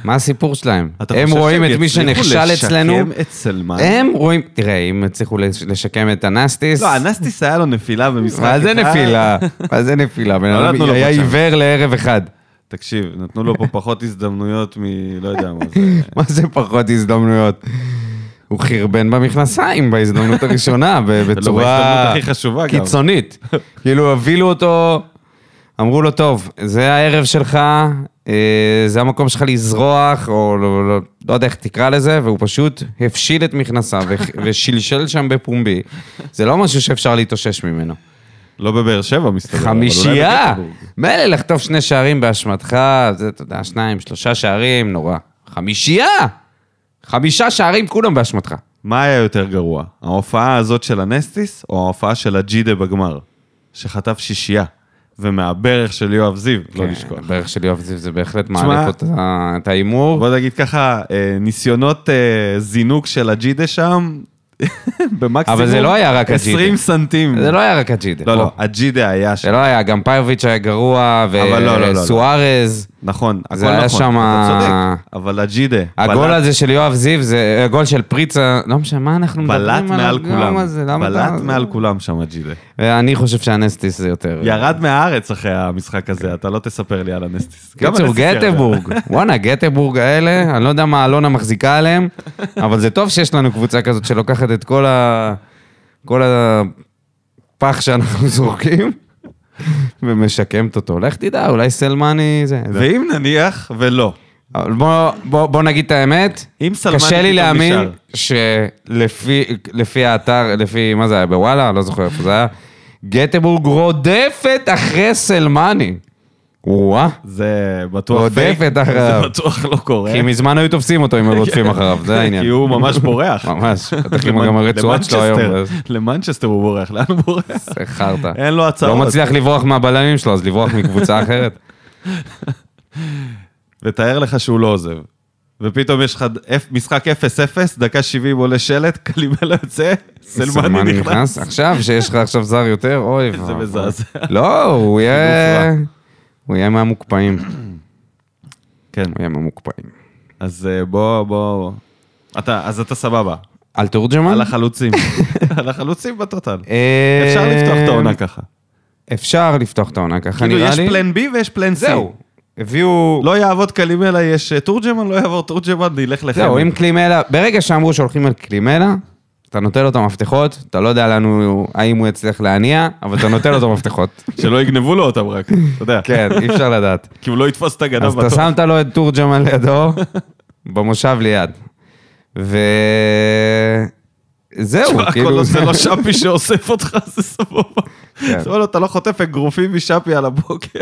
Speaker 2: מה הסיפור שלהם?
Speaker 1: אתה
Speaker 2: הם
Speaker 1: חושב
Speaker 2: רואים
Speaker 1: שהם
Speaker 2: את מי
Speaker 1: יצליחו
Speaker 2: שנכשל אצלנו.
Speaker 1: לשקם את סלמני?
Speaker 2: הם רואים, תראה, אם הצליחו לש- לשקם את הנסטיס,
Speaker 1: לא, הנסטיס היה לו נפילה במשחק.
Speaker 2: מה זה
Speaker 1: אחד.
Speaker 2: נפילה? מה זה נפילה? בן אדם
Speaker 1: לא נתנו לו
Speaker 2: היה
Speaker 1: פה צ'אנס.
Speaker 2: עיוור לערב אחד.
Speaker 1: תקשיב, נתנו לו פה פחות הזדמנויות מ... לא יודע מה זה.
Speaker 2: מה זה פחות הזדמנויות? הוא חרבן במכנסיים בהזדמנות הראשונה, ב-
Speaker 1: לא בהזדמנות
Speaker 2: בצורה
Speaker 1: הכי חשובה גם.
Speaker 2: קיצונית. כאילו, הבילו אותו, אמרו לו, טוב, זה הערב שלך, אה, זה המקום שלך לזרוח, או לא, לא, לא יודע איך תקרא לזה, והוא פשוט הפשיל את מכנסיו ו- ושלשל שם בפומבי. זה לא משהו שאפשר להתאושש ממנו.
Speaker 1: לא בבאר שבע, מסתבר. אבל אולי
Speaker 2: חמישייה!
Speaker 1: בבלומפילד.
Speaker 2: מילא לחטוף שני שערים באשמתך, זה, אתה יודע, שניים, שלושה שערים, נורא. חמישייה! חמישה שערים כולם באשמתך.
Speaker 1: מה היה יותר גרוע? ההופעה הזאת של הנסטיס, או ההופעה של הג'ידה בגמר? שחטף שישייה, ומהברך של יואב זיו, לא
Speaker 2: כן,
Speaker 1: לשכוח.
Speaker 2: הברך של יואב זיו זה בהחלט
Speaker 1: תשמע,
Speaker 2: מעלה פה את ה- את ההימור.
Speaker 1: בוא נגיד ככה, אה, ניסיונות אה, זינוק של הג'ידה שם, במקסימום...
Speaker 2: אבל זה לא היה רק
Speaker 1: 20
Speaker 2: הג'ידה.
Speaker 1: סנטים.
Speaker 2: זה לא היה רק הג'ידה.
Speaker 1: לא,
Speaker 2: בוא.
Speaker 1: לא, הג'ידה היה שם.
Speaker 2: זה לא היה, גם פאיוביץ' היה גרוע,
Speaker 1: אבל לא, לא, לא, לא.
Speaker 2: וסוארז.
Speaker 1: נכון, הכל נכון.
Speaker 2: זה היה שמה-
Speaker 1: אתה צודק, אבל הג'ידה.
Speaker 2: הגול
Speaker 1: בלט-
Speaker 2: הזה של יואב זיו, זה הגול של פריצה, לא משנה, מה אנחנו מדברים
Speaker 1: בלט
Speaker 2: עליו?
Speaker 1: מעל
Speaker 2: גם
Speaker 1: כולם.
Speaker 2: על זה, למה אתה-
Speaker 1: בלט מעל כולם שם הג'ידה.
Speaker 2: אני חושב שהנסטיס זה יותר...
Speaker 1: ירד מהארץ אחרי המשחק
Speaker 2: כן.
Speaker 1: הזה, אתה לא תספר לי על הנסטיס. גם
Speaker 2: קיצור,
Speaker 1: הנסטיס ירד.
Speaker 2: גטבורג, וואנה, גטבורג האלה, אני לא יודע מה אלונה מחזיקה עליהם, אבל זה טוב שיש לנו קבוצה כזאת שלוקחת את כל ה... כל הפח שאנחנו זורקים ומשקמת אותו. לך תדע, אולי סלמני זה.
Speaker 1: ואם נניח ולא,
Speaker 2: אבל בוא, בוא, בוא נגיד את האמת,
Speaker 1: אם סלמני
Speaker 2: קשה לי
Speaker 1: פתאום
Speaker 2: להאמין
Speaker 1: נשאר.
Speaker 2: שלפי לפי האתר, לפי, מה זה היה, בוואלה? לא זוכר איפה זה היה. גטבורג רודפת אחרי סלמני. וואה,
Speaker 1: זה בטוח
Speaker 2: רודפת
Speaker 1: פייק,
Speaker 2: אחריו.
Speaker 1: זה בטוח לא קורה.
Speaker 2: כי מזמן היו תופסים אותו אם היו רודפים אחריו, זה העניין.
Speaker 1: כן. כי הוא ממש בורח.
Speaker 2: ממש, בטח עם גם הרצועה שלו היום.
Speaker 1: למנצ'סטר, למנצ'סטר הוא בורח, לאן הוא בורח?
Speaker 2: זה חרטא.
Speaker 1: אין לו הצעות.
Speaker 2: לא מצליח לברוח מהבלמים שלו, אז לברוח מקבוצה אחרת.
Speaker 1: ותאר לך שהוא לא עוזב. ופתאום יש לך אפ- משחק 0-0, דקה 70 עולה שלט, קלימלה יוצא, סלמני נכנס.
Speaker 2: עכשיו, שיש לך עכשיו זר יותר, אוי.
Speaker 1: זה
Speaker 2: ואבוי.
Speaker 1: מזעזע.
Speaker 2: לא, הוא יהיה...
Speaker 1: חילוף
Speaker 2: הוא יהיה מהמוקפאים. הוא
Speaker 1: כן,
Speaker 2: יהיה מהמוקפאים.
Speaker 1: אז אה, בוא, בוא. אתה, אז אתה סבבה.
Speaker 2: על תורג'מן?
Speaker 1: על החלוצים. על החלוצים בטוטל.
Speaker 2: אה,
Speaker 1: אפשר לפתוח את העונה ככה.
Speaker 2: אפשר לפתוח את העונה ככה,
Speaker 1: כאילו,
Speaker 2: נראה לי.
Speaker 1: יש פלן B ויש פלן C.
Speaker 2: זהו. הביאו...
Speaker 1: לא יעבוד קלימלה, יש אה, תורג'מן, לא יעבור תורג'מן, נלך לחמד.
Speaker 2: זהו, אם קלימלה, ברגע שאמרו שהולכים על קלימלה, אתה נותן לו את המפתחות, אתה לא יודע לנו האם הוא יצליח להניע, אבל אתה נותן לו את המפתחות.
Speaker 1: שלא יגנבו לו אותם רק, אתה יודע.
Speaker 2: כן, אי אפשר לדעת.
Speaker 1: כי הוא לא יתפוס את הגנב
Speaker 2: אז אתה
Speaker 1: בתור.
Speaker 2: שמת לו את תורג'מן לידו, במושב ליד. וזהו,
Speaker 1: הכל
Speaker 2: כאילו...
Speaker 1: עושה לו שפי שאוסף אותך, זה סבבה.
Speaker 2: כן.
Speaker 1: זה אומר לו, אתה לא חוטף אגרופים משפי על הבוקר.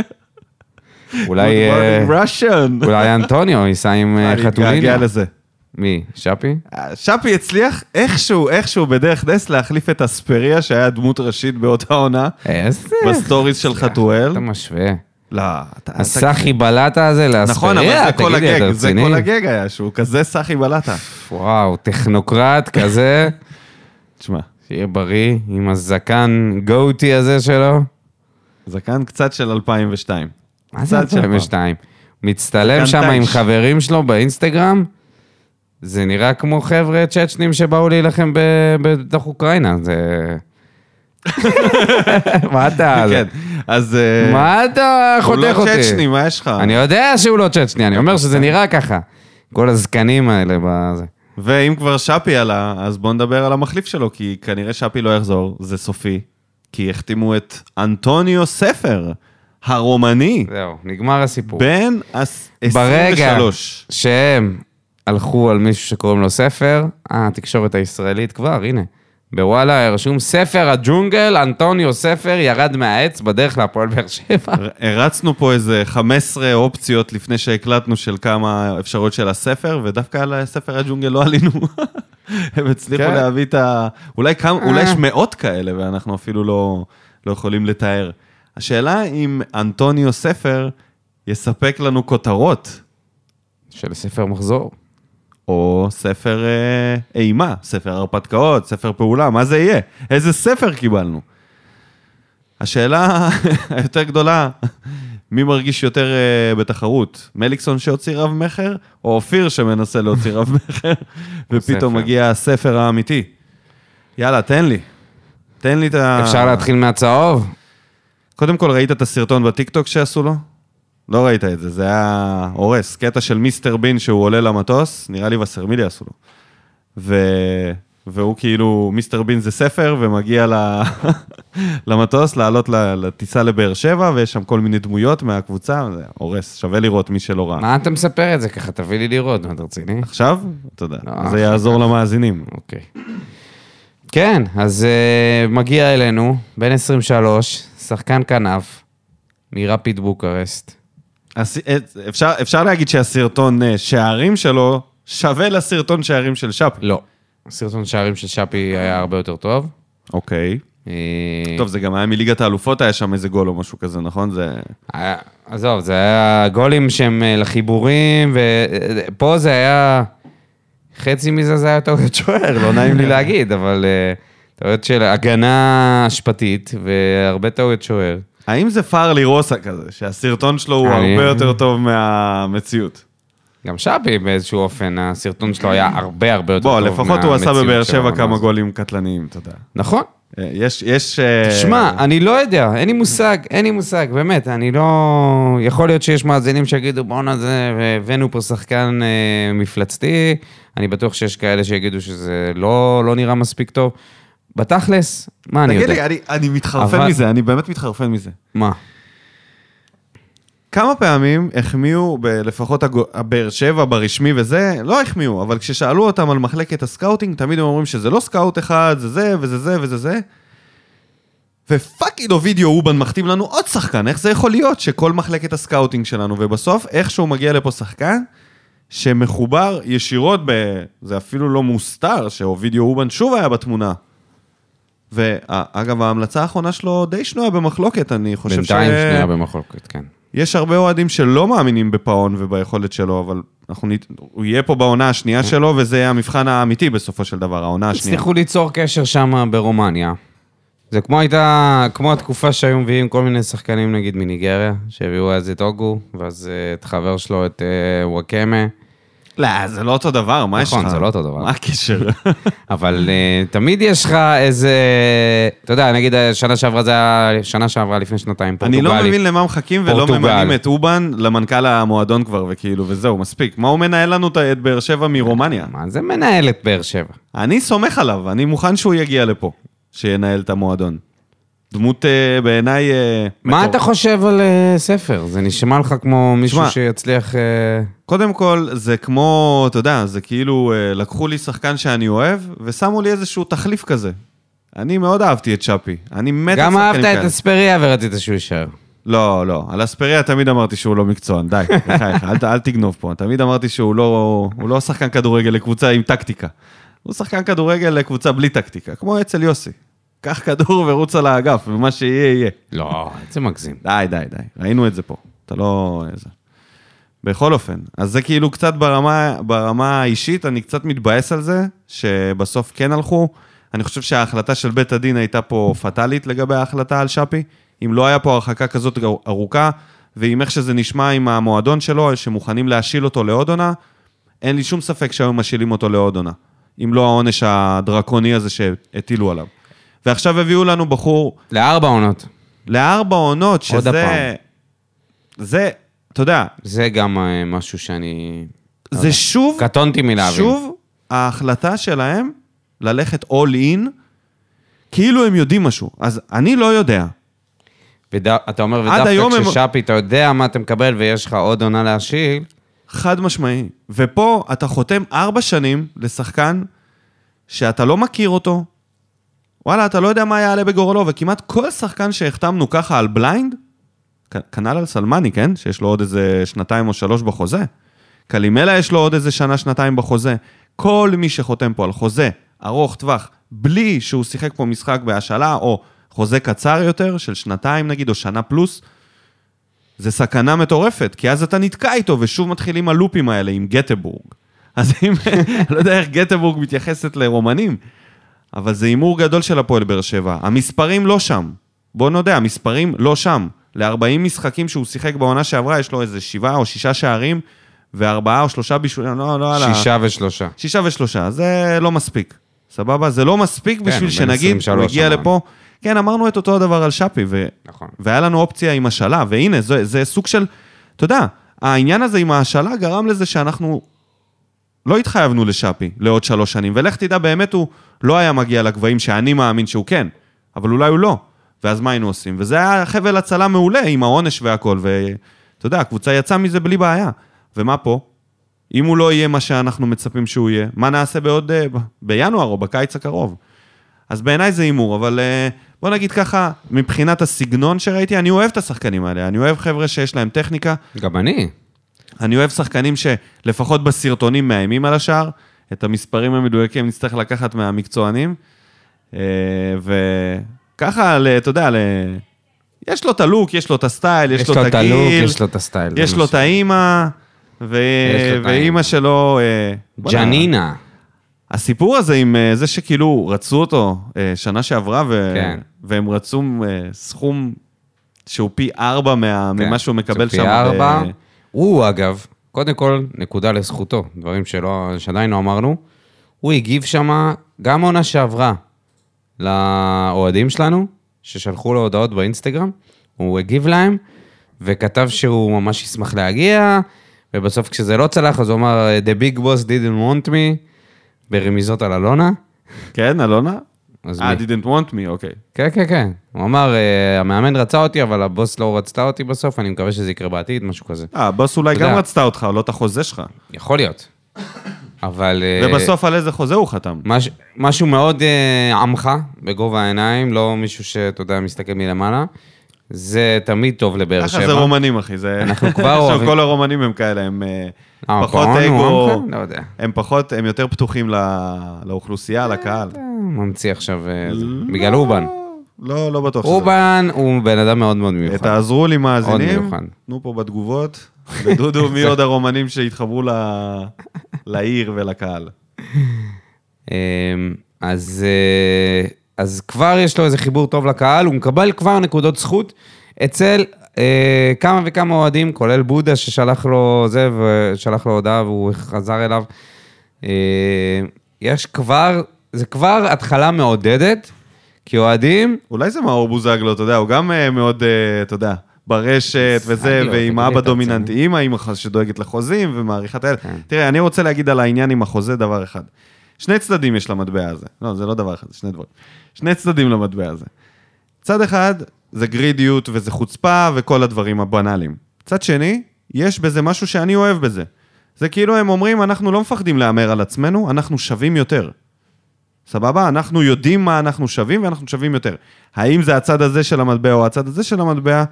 Speaker 2: אולי...
Speaker 1: Good
Speaker 2: אה,
Speaker 1: morning, Russian.
Speaker 2: אולי אנטוניו ייסע עם אה,
Speaker 1: אני
Speaker 2: חתולינה.
Speaker 1: מתגעגע לזה.
Speaker 2: מי? שפי?
Speaker 1: שפי הצליח איכשהו, איכשהו בדרך נס להחליף את אספריה, שהיה דמות ראשית באותה עונה,
Speaker 2: איזה...
Speaker 1: בסטוריז של חתואל.
Speaker 2: אתה משווה.
Speaker 1: לא, אתה... אתה-
Speaker 2: הסאחי בלטה הזה
Speaker 1: נכון, אבל
Speaker 2: לאספריה,
Speaker 1: זה כל
Speaker 2: תגיד לי, אתה
Speaker 1: הגג, זה
Speaker 2: רציני?
Speaker 1: כל הגג היה, שהוא כזה סאחי בלטה.
Speaker 2: וואו, טכנוקרט כזה,
Speaker 1: תשמע,
Speaker 2: שיהיה בריא, עם הזקן גוטי הזה שלו.
Speaker 1: זקן קצת של 2002.
Speaker 2: מה זה
Speaker 1: קצת של
Speaker 2: 2002? מצטלם
Speaker 1: זקן
Speaker 2: שם עם
Speaker 1: טייש.
Speaker 2: חברים שלו באינסטגרם, זה נראה כמו חבר'ה צ'צ'נים שבאו להילחם ב- בתוך אוקראינה, זה... מה אתה...
Speaker 1: כן, אז... אה,
Speaker 2: מה אתה חותך
Speaker 1: הוא
Speaker 2: אותי?
Speaker 1: לא כן. צ'צ'ני, מה יש לך?
Speaker 2: אני יודע שהוא לא צ'צ'ני, אני אומר שזה נראה ככה. כל הזקנים האלה בזה.
Speaker 1: ואם כבר שפי עלה, אז בואו נדבר על המחליף שלו, כי כנראה שפי לא יחזור, זה סופי. כי החתימו את אנטוניו ספר, הרומני,
Speaker 2: זהו, נגמר הסיפור.
Speaker 1: בן הס-
Speaker 2: ברגע
Speaker 1: 23.
Speaker 2: שהם הלכו על מישהו שקוראים לו ספר, אה, התקשורת הישראלית כבר, הנה. בוואלה היה רשום ספר הג'ונגל, אנטוניו ספר ירד מהעץ בדרך להפועל באר שבע.
Speaker 1: ר- הרצנו פה איזה 15 אופציות לפני שהקלטנו של כמה אפשרויות של הספר, ודווקא על הספר הג'ונגל לא עלינו. הם הצליחו
Speaker 2: כן.
Speaker 1: להביא את ה... אולי כמה,
Speaker 2: אה.
Speaker 1: אולי יש מאות כאלה, ואנחנו אפילו לא, לא יכולים לתאר. השאלה אם אנטוניו ספר יספק לנו כותרות,
Speaker 2: של ספר מחזור.
Speaker 1: או ספר אה, אימה, ספר הרפתקאות, ספר פעולה, מה זה יהיה? איזה ספר קיבלנו? השאלה היותר גדולה, מי מרגיש יותר אה, בתחרות? מליקסון שהוציא רב-מכר, או אופיר שמנסה להוציא רב-מכר, ופתאום
Speaker 2: ספר.
Speaker 1: מגיע הספר האמיתי? יאללה, תן לי. תן לי את ה...
Speaker 2: אפשר להתחיל מהצהוב?
Speaker 1: קודם כל, ראית את הסרטון בטיקטוק שעשו לו? לא ראית את זה, זה היה הורס. קטע של מיסטר בין שהוא עולה למטוס, נראה לי וסרמילי עשו לו. והוא והוא כאילו, מיסטר בין זה ספר, ומגיע ל... למטוס לעלות ל- לטיסה לבאר שבע, ויש שם כל מיני דמויות מהקבוצה, זה הורס, שווה לראות מי שלא ראה.
Speaker 2: מה אתה מספר את זה ככה? תביא לי לראות, מה אתה רציני?
Speaker 1: עכשיו? תודה.
Speaker 2: לא,
Speaker 1: זה יעזור למאזינים.
Speaker 2: אוקיי. כן, אז אה, מגיע אלינו, בן 23, שחקן כנף, מרפיד בוקרסט.
Speaker 1: הס-
Speaker 2: אה,
Speaker 1: את- אפשר, אפשר להגיד שהסרטון אה, שערים שלו שווה לסרטון שערים של שפי.
Speaker 2: לא. סרטון שערים של שפי היה הרבה יותר טוב.
Speaker 1: אוקיי.
Speaker 2: אה,
Speaker 1: טוב, זה גם היה מליגת האלופות, היה שם איזה גול או משהו כזה, נכון? זה...
Speaker 2: היה- עזוב, זה היה גולים שהם אה, לחיבורים, ופה זה היה... חצי מזה זה היה טעויות שוער, לא נעים לי להגיד, אבל אה, טעויות של הגנה אשפתית והרבה טעויות שוער.
Speaker 1: האם זה פארלי רוסה כזה, שהסרטון שלו הוא
Speaker 2: אני-
Speaker 1: הרבה יותר טוב מהמציאות?
Speaker 2: גם שפי באיזשהו אופן, הסרטון שלו היה הרבה הרבה יותר
Speaker 1: בוא,
Speaker 2: טוב
Speaker 1: לפחות הוא עשה
Speaker 2: מהמציאות
Speaker 1: בבאר
Speaker 2: של העונה
Speaker 1: שבע כמה
Speaker 2: הזאת.
Speaker 1: גולים קטלניים, אתה יודע.
Speaker 2: נכון.
Speaker 1: אה, יש, יש... אה,
Speaker 2: שמע, אני לא יודע, אין לי מושג, אין לי מושג, באמת, אני לא... יכול להיות שיש מאזינים שיגידו, בואנה זה, הבאנו פה שחקן אה, מפלצתי, אני בטוח שיש כאלה שיגידו שזה לא, לא נראה מספיק טוב. בתכלס, מה אני
Speaker 1: תגיד
Speaker 2: יודע?
Speaker 1: לי, אני- אני מתחרפן
Speaker 2: אבל-
Speaker 1: מזה, אני באמת מתחרפן מזה.
Speaker 2: מה?
Speaker 1: כמה פעמים החמיאו, ב- לפחות הגו- הבאר שבע ברשמי וזה, לא החמיאו, אבל כששאלו אותם על מחלקת הסקאוטינג, תמיד הם אומרים שזה לא סקאוט אחד, זה זה וזה זה וזה זה. ופאקינג אובידיו אובן מחתים לנו עוד שחקן, איך זה יכול להיות שכל מחלקת הסקאוטינג שלנו, ובסוף איכשהו מגיע לפה שחקן שמחובר ישירות ב... זה אפילו לא מוסתר שאובידיו אובן שוב היה בתמונה. ואגב, ההמלצה האחרונה שלו די שנויה במחלוקת, אני חושב
Speaker 2: בינתיים שנייה במחלוקת, כן.
Speaker 1: יש הרבה אוהדים שלא מאמינים בפאון וביכולת שלו, אבל אנחנו נ... הוא יהיה פה בעונה השנייה שלו, וזה יהיה המבחן האמיתי בסופו של דבר, העונה השנייה.
Speaker 2: הצליחו ליצור קשר שם ברומניה. זה כמו הייתה, כמו התקופה שהיו מביאים כל מיני שחקנים נגיד מניגריה, שהביאו אז את אוגו, ואז אה, את חבר שלו, את אה, וואקמה,
Speaker 1: לא, זה לא אותו דבר, מה יש לך?
Speaker 2: נכון, זה לא אותו דבר.
Speaker 1: מה הקשר?
Speaker 2: אבל אה, תמיד יש לך איזה, אתה יודע, נגיד השנה שעברה זה היה, שנה שעברה לפני שנתיים,
Speaker 1: אני
Speaker 2: פורטוגלי.
Speaker 1: לא מבין למה מחכים ולא
Speaker 2: פורטוגל.
Speaker 1: ממנים את אובן למנכ"ל המועדון כבר, וכאילו, וזהו, מספיק. מה הוא מנהל לנו את- את באר שבע מרומניה?
Speaker 2: מה זה מנהל את באר שבע?
Speaker 1: אני סומך עליו, אני מוכן שהוא יגיע לפה, שינהל את המועדון. דמות אה, בעיניי... אה,
Speaker 2: מה
Speaker 1: מטור-
Speaker 2: אתה חושב על אה, ספר? זה נשמע לך כמו מישהו
Speaker 1: שמע,
Speaker 2: שיצליח... אה,
Speaker 1: קודם כל, זה כמו, אתה יודע, זה כאילו אה, לקחו לי שחקן שאני אוהב, ושמו לי איזשהו תחליף כזה. אני מאוד אהבתי את שפי. אני מת על
Speaker 2: גם
Speaker 1: שחקנים
Speaker 2: אהבת את
Speaker 1: כאלה.
Speaker 2: אספריה ורצית שהוא יישאר.
Speaker 1: לא, לא. על אספריה תמיד אמרתי שהוא לא מקצוען, די, בחייך, אל, ת- אל תגנוב פה. תמיד אמרתי שהוא לא, הוא לא שחקן כדורגל לקבוצה עם טקטיקה. הוא שחקן כדורגל לקבוצה בלי טקטיקה, כמו אצל יוסי. קח כדור ורוץ על האגף, ומה שיהיה, יהיה.
Speaker 2: לא, זה מגזים.
Speaker 1: די, די, די, ראינו את זה פה. אתה לא... זה. בכל אופן, אז זה כאילו קצת ברמה, ברמה האישית, אני קצת מתבאס על זה, שבסוף כן הלכו. אני חושב שההחלטה של בית הדין הייתה פה פטאלית לגבי ההחלטה על שפי. אם לא היה פה הרחקה כזאת ארוכה, ועם איך שזה נשמע עם המועדון שלו, שמוכנים להשיל אותו לעוד עונה, אין לי שום ספק שהיו משילים אותו לעוד עונה, אם לא העונש הדרקוני הזה שהטילו עליו. ועכשיו הביאו לנו בחור
Speaker 2: לארבע עונות.
Speaker 1: לארבע עונות,
Speaker 2: עוד
Speaker 1: שזה...
Speaker 2: הפעם.
Speaker 1: זה, אתה יודע,
Speaker 2: זה גם אה, משהו שאני...
Speaker 1: זה שוב,
Speaker 2: לא קטונתי מלהבין.
Speaker 1: שוב ההחלטה שלהם ללכת all in, כאילו הם יודעים משהו. אז אני לא יודע.
Speaker 2: וד... אתה אומר,
Speaker 1: עד היום
Speaker 2: ודווקא
Speaker 1: הם-
Speaker 2: כששאפי, אתה יודע מה אתה מקבל ויש לך עוד עונה להשיל,
Speaker 1: חד משמעי. ופה אתה חותם ארבע שנים לשחקן שאתה לא מכיר אותו, וואלה, אתה לא יודע מה יעלה בגורלו, וכמעט כל שחקן שהחתמנו ככה על בליינד, כ- כנ"ל על סלמני, כן? שיש לו עוד איזה שנתיים או שלוש בחוזה. קלימלה יש לו עוד איזה שנה, שנתיים בחוזה. כל מי שחותם פה על חוזה ארוך טווח, בלי שהוא שיחק פה משחק בהשאלה, או חוזה קצר יותר, של שנתיים נגיד, או שנה פלוס, זה סכנה מטורפת, כי אז אתה נתקע איתו, ושוב מתחילים הלופים האלה עם גטבורג. אז אם, לא יודע איך גטבורג מתייחסת לרומנים, אבל זה הימור גדול של הפועל באר שבע. המספרים לא שם. בוא נודה, המספרים לא שם. ל-40 משחקים שהוא שיחק בעונה שעברה, יש לו איזה שבעה או שישה שערים, וארבעה או שלושה בישולים, לא, לא על ה...
Speaker 2: שישה ושלושה.
Speaker 1: שישה ושלושה, זה לא מספיק. סבבה? זה לא מספיק
Speaker 2: כן, הוא בן
Speaker 1: בשביל שנגיד, הוא
Speaker 2: 23
Speaker 1: הגיע
Speaker 2: אמרנו.
Speaker 1: לפה. כן, אמרנו את אותו הדבר על שפי, ו...
Speaker 2: נכון.
Speaker 1: והיה לנו אופציה עם השאלה, והנה, זה, זה סוג של, אתה יודע, העניין הזה עם ההשאלה גרם לזה שאנחנו לא התחייבנו לשאפי לעוד שלוש שנים, ולך תדע, באמת הוא לא היה מגיע לגבהים שאני מאמין שהוא כן, אבל אולי הוא לא. ואז מה היינו עושים? וזה היה חבל הצלה מעולה עם העונש והכל, ואתה יודע, הקבוצה יצאה מזה בלי בעיה. ומה פה? אם הוא לא יהיה מה שאנחנו מצפים שהוא יהיה, מה נעשה בעוד... אה, ב- בינואר או בקיץ הקרוב? אז בעיניי זה הימור, אבל אה, בוא נגיד ככה, מבחינת הסגנון שראיתי, אני אוהב את השחקנים האלה, אני אוהב חבר'ה שיש להם טכניקה,
Speaker 2: גם אני.
Speaker 1: אני אוהב שחקנים שלפחות בסרטונים מאיימים על השער, את המספרים המדויקים נצטרך לקחת מהמקצוענים, אה, וככה, ל- אתה יודע, ל... יש לו את הלוק, יש לו את הסטייל, יש,
Speaker 2: יש לו את הלוק,
Speaker 1: הגיל,
Speaker 2: יש לו את הסטייל.
Speaker 1: יש
Speaker 2: זה
Speaker 1: לו
Speaker 2: מה
Speaker 1: את האימא, ו...
Speaker 2: יש לו את
Speaker 1: ואימא
Speaker 2: האימא.
Speaker 1: שלו... אה,
Speaker 2: ש-
Speaker 1: בוא'נה,
Speaker 2: ג'נינה.
Speaker 1: הסיפור הזה עם אה, זה שכאילו רצו אותו אה, שנה שעברה, ו...
Speaker 2: כן.
Speaker 1: והם רצו אה, סכום שהוא פי ארבע מה...
Speaker 2: כן.
Speaker 1: ממה שהוא מקבל שם. אה,
Speaker 2: פי ארבע.
Speaker 1: ב-
Speaker 2: הוא, אגב, קודם כל, נקודה לזכותו, דברים שלא, שעדיין לא אמרנו. הוא הגיב שמה, גם עונה שעברה, לאוהדים שלנו, ששלחו לו הודעות באינסטגרם, הוא הגיב להם, וכתב שהוא ממש ישמח להגיע, ובסוף כשזה לא צלח, אז הוא אמר, The big boss didn't want me, ברמיזות על אלונה.
Speaker 1: כן, אלונה?
Speaker 2: אז
Speaker 1: אה,
Speaker 2: מי?
Speaker 1: didn't want me, אוקיי.
Speaker 2: כן, כן, כן. הוא אמר, "אה, המאמן רצה אותי, אבל הבוס לא רצתה אותי בסוף, אני מקווה שזה יקרה בעתיד, משהו כזה.
Speaker 1: אה, הבוס אולי
Speaker 2: אתה
Speaker 1: גם
Speaker 2: יודע.
Speaker 1: רצתה אותך, לא את החוזה שלך.
Speaker 2: יכול להיות. אבל... אה,
Speaker 1: ובסוף על איזה חוזה הוא חתם.
Speaker 2: מש, משהו מאוד אה, עמך, בגובה העיניים, לא מישהו שאתה יודע, מסתכל מלמעלה. זה תמיד טוב
Speaker 1: ככה
Speaker 2: לבאר
Speaker 1: זה
Speaker 2: שבע.
Speaker 1: רומנים, אחי, זה...
Speaker 2: אנחנו כבר
Speaker 1: עכשיו,
Speaker 2: אוהבים.
Speaker 1: כל הרומנים הם כאלה, הם אה,
Speaker 2: אה,
Speaker 1: פחות
Speaker 2: פרעון הוא
Speaker 1: אגו,
Speaker 2: עמך? לא יודע.
Speaker 1: הם פחות, הם יותר פתוחים ל- לאוכלוסייה, לקהל.
Speaker 2: אה, ממציא עכשיו, אה, זה. בגלל אובן.
Speaker 1: לא, לא בטוח שזה.
Speaker 2: אובן הוא בן אדם מאוד מאוד
Speaker 1: אה,
Speaker 2: מיוחד.
Speaker 1: תעזרו לי מאזינים,
Speaker 2: מיוחד.
Speaker 1: תנו פה בתגובות, ודודו מי עוד הרומנים שהתחברו ל- לעיר ולקהל.
Speaker 2: אמ, אז, אה, אז כבר יש לו איזה חיבור טוב לקהל, הוא מקבל כבר נקודות זכות אצל אה, כמה וכמה אוהדים, כולל בודה ששלח לו זה, ושלח לו הודעה והוא חזר אליו. אה, יש כבר, זה כבר התחלה מעודדת, כי אוהדים,
Speaker 1: אולי זה מאור בוזגלו, אתה יודע, הוא גם אה, מאוד, אה, אתה יודע, ברשת וזה,
Speaker 2: בוזגלו,
Speaker 1: ועם
Speaker 2: תגיד לי,
Speaker 1: אבא
Speaker 2: אתה
Speaker 1: דומיננטי, אימא, אימא ח- שדואגת לחוזים ומעריכת הילד.
Speaker 2: כן.
Speaker 1: תראה, אני רוצה להגיד על העניין עם החוזה דבר אחד. שני צדדים יש למטבע הזה. לא, זה לא דבר אחד, זה שני דברים. שני צדדים למטבע הזה. צד אחד, זה גרידיות וזה חוצפה וכל הדברים הבנאליים. צד שני, יש בזה משהו שאני אוהב בזה. זה כאילו הם אומרים, אנחנו לא מפחדים להמר על עצמנו, אנחנו שווים יותר. סבבה? אנחנו יודעים מה אנחנו שווים ואנחנו שווים יותר. האם זה הצד הזה של המטבע או הצד הזה של המטבע?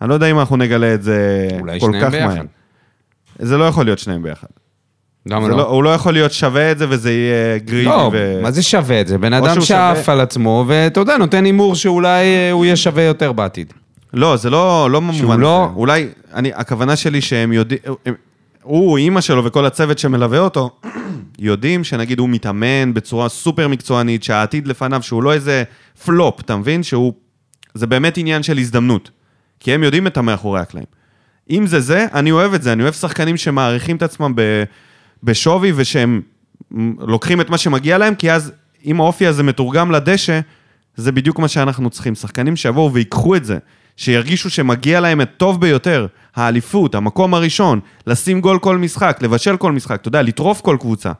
Speaker 1: אני לא יודע אם אנחנו נגלה את זה
Speaker 2: אולי
Speaker 1: כל
Speaker 2: שניהם
Speaker 1: כך
Speaker 2: ביחד.
Speaker 1: מהר. זה לא יכול להיות שניהם ביחד.
Speaker 2: למה
Speaker 1: זה
Speaker 2: לא?
Speaker 1: לא, הוא לא יכול להיות שווה את זה וזה יהיה גרידי
Speaker 2: לא,
Speaker 1: ו...
Speaker 2: מה זה שווה את זה? בן
Speaker 1: או
Speaker 2: אדם
Speaker 1: שהוא
Speaker 2: שאף
Speaker 1: שווה-
Speaker 2: על עצמו, ואתה יודע, נותן הימור שאולי אה, הוא יהיה שווה יותר בעתיד.
Speaker 1: לא, זה לא, לא במובן
Speaker 2: שהוא
Speaker 1: הזה.
Speaker 2: לא-
Speaker 1: אולי, אני, הכוונה שלי שהם יודעים, הם- הוא, אימא שלו וכל הצוות שמלווה אותו, יודעים שנגיד הוא מתאמן בצורה סופר מקצוענית, שהעתיד לפניו, שהוא לא איזה פלופ, אתה מבין? שהוא, זה באמת עניין של הזדמנות. כי הם יודעים את המאחורי הקלעים. אם זה זה, אני אוהב את זה, אני אוהב שחקנים שמעריכים את עצמם ב, בשווי ושהם מ- לוקחים את מה שמגיע להם, כי אז אם האופי הזה מתורגם לדשא, זה בדיוק מה שאנחנו צריכים. שחקנים שיבואו ויקחו את זה, שירגישו שמגיע להם את טוב ביותר, האליפות, המקום הראשון, לשים גול כל משחק, לבשל כל משחק, אתה יודע, לטרוף כל קבוצה.